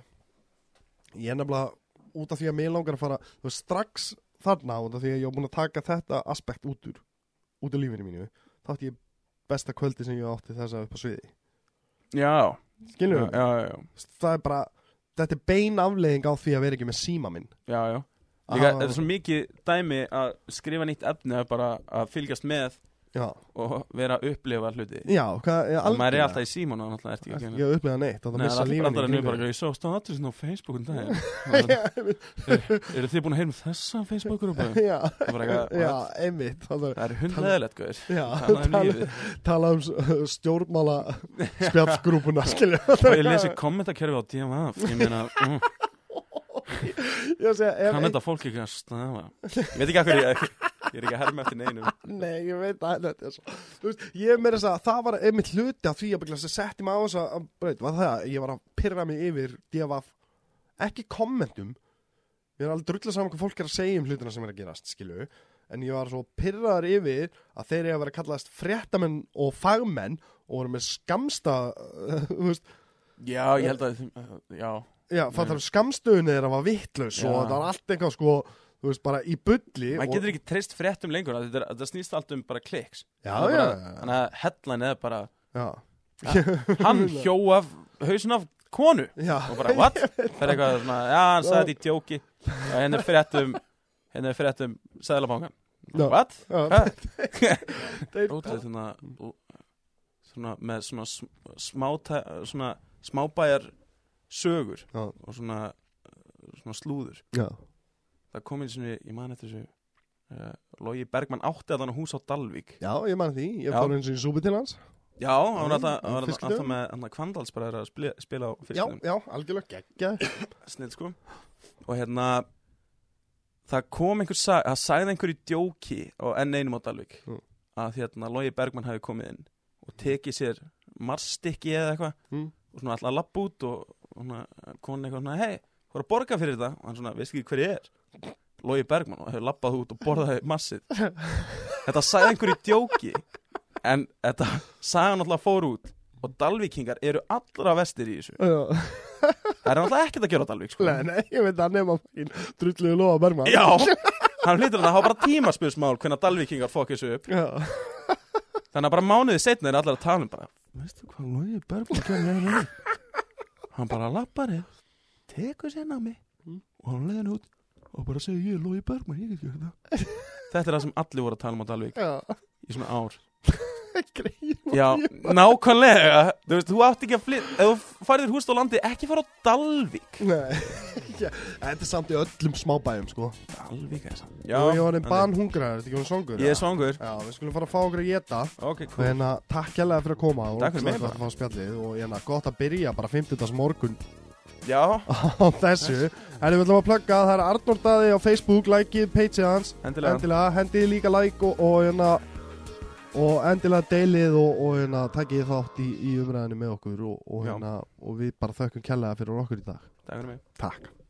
Ég er nefnilega út af því að mér langar að fara Þú veist, strax þarna út af því að ég er búin að taka þetta aspekt út úr Út úr lífinu mínu Þá átti ég besta kvöldi sem ég átti þessa upp á sviði
já, já,
Skilur
já, já, já,
Það er bara, þetta er bein afleiðing á því að vera ekki með síma minn
já, já. Líka,
Að-
Þetta er svo mikið dæmi að skrifa nýtt efni að bara að fylgjast með
já,
og vera að upplifa hluti
já, hvað,
og maður er alltaf í síman og alltaf ert ekki að
ekki
gera
að upplega neitt, að
Nei,
það missa
alltaf
lífan
brandarinn er bara eitthvað, Ég sá statusin á Facebook um daginn Og það- Eru þið búin að heyra um þessa Facebook-grúpa?
Já,
Það er bara eitthvað-
já, einmitt Það er-
Það er hundleðilegt, gauðir
Já,
Þannig
tala-
er lífið
tala um s- stjórnmála spjallgrúpuna, skilja
Og ég lesi kommentakerfi á DMF Ég meina, mm,
Ég segi, ef
kann þetta fólk ekki að stafa Ég veit ekki að hverju ég, ég er ekki að herma eftir neinum
Nei, ég veit að þetta er svo Þú veist, ég meira þess að það var einmitt hluti af því að byggla þess að setti mig á þess að breyt, var það að ég var að pyrra mig yfir divaf, ekki kommentum ég er alveg drullið saman hvað fólk er að segja um hlutina sem er að gerast, skilu en ég var svo pyrraðar yfir að þeir eru að vera kallaðast fréttamenn og fagmenn og voru með skamsta þú veist,
Já, ég held að Já,
já, fattar þú, skamstöðunni þeirra var vittlaus
Já.
og það var allt eitthvað sko þú veist, bara í bulli
maður
og,
getur ekki treyst fréttum lengur af því Þetta er- þetta snýst allt um bara kliks
já,
Það er
já,
bara-
já,
Þannig að headline er bara
já,
Hann hjó af hausin af konu
já.
og bara what? Það er eitthvað svona, já hann sagði þetta í djóki og henni er fréttum henni er fréttum sæðlabangan
Já.
what?
Já.
Hvað?
Þeir-
Ótrúlega svona svona með svona sm- smáta, svona smábæjar sögur
Já.
og svona svona slúður
já,
það kom eins og ég man eftir þessu uh, Logi Bergmann átti að hann hús á Dalvík
Já, ég man því, ég
Já.
fór eins og í súpu til hans
já, hann
Já,
var alltaf, hann var alltaf,
fiskidögum.
alltaf með hann að Kvandals bara er að spila, spila á
Já,
fyrstum
já, algjörlega geggja
snill sko og hérna það kom einhver, sa- það sagði einhver í djóki á N1 á Dalvik
Mm.
að hérna Logi Bergmann hafi komið inn og tekið sér marsstykki eða eitthvað
Mm.
og svona alltaf lapp út og og svona konin eitthvað svona hei, þú er að borga fyrir þetta og hann svona, veist ekki hver ég er Logi Bergmann og hefur lappað út og borðaði massið þetta sagði einhver í djóki en þetta sagði hann alltaf fór út og Dalvíkingar eru allra vestir í þessu
Nei,
það er alltaf ekkert að gera á Dalvík sko.
nei, ég veit að nema fín drulluðu lofa berma
Já, hann hlýtur að það hafa bara tímaspilsmál hvernig að Dalvíkingar fokk þessu upp
já,
Þannig að bara mánuði setna er allir að tala um bara Veistu hvað Lói Bergman gerði með henni? Hann bara lappar hér Tekur sér námi Og hann leiðin út og bara segi ég er Lói Bergman Ég get gert það Þetta er það sem allir voru að tala um á Dalvík
já
í svona ár
Greið
Já, nákvæmlega Þú veist, þú átt ekki að flyt Ef þú farið þér húst á landi, ekki fara á Dalvík
Nei, já, þetta er samt í öllum smábæjum, sko
Dalvík er það
Já, ég var einn banhungraður, þetta ekki var songur
Ég er svangur
Já, við skulum fara að fá okkur að geta
Ok,
Og
cool.
hérna, takk hérlega fyrir að koma og
Takk fyrir mig,
ógeðslega gott að fá spjallið Og hérna, gott að byrja bara 50. morgun
Já,
á þessu En við ætlum að plugga að það er Arnór Daði á Facebook, likeið pageið hans
Endilega.
Endilega, hendið líka like og, og, hérna, og endilega deilið og, og hérna, takkið þátt í, í umræðinu með okkur og, og,
Já.
hérna, og við bara þökkum kærlega fyrir okkur í dag
takk fyrir mig
Takk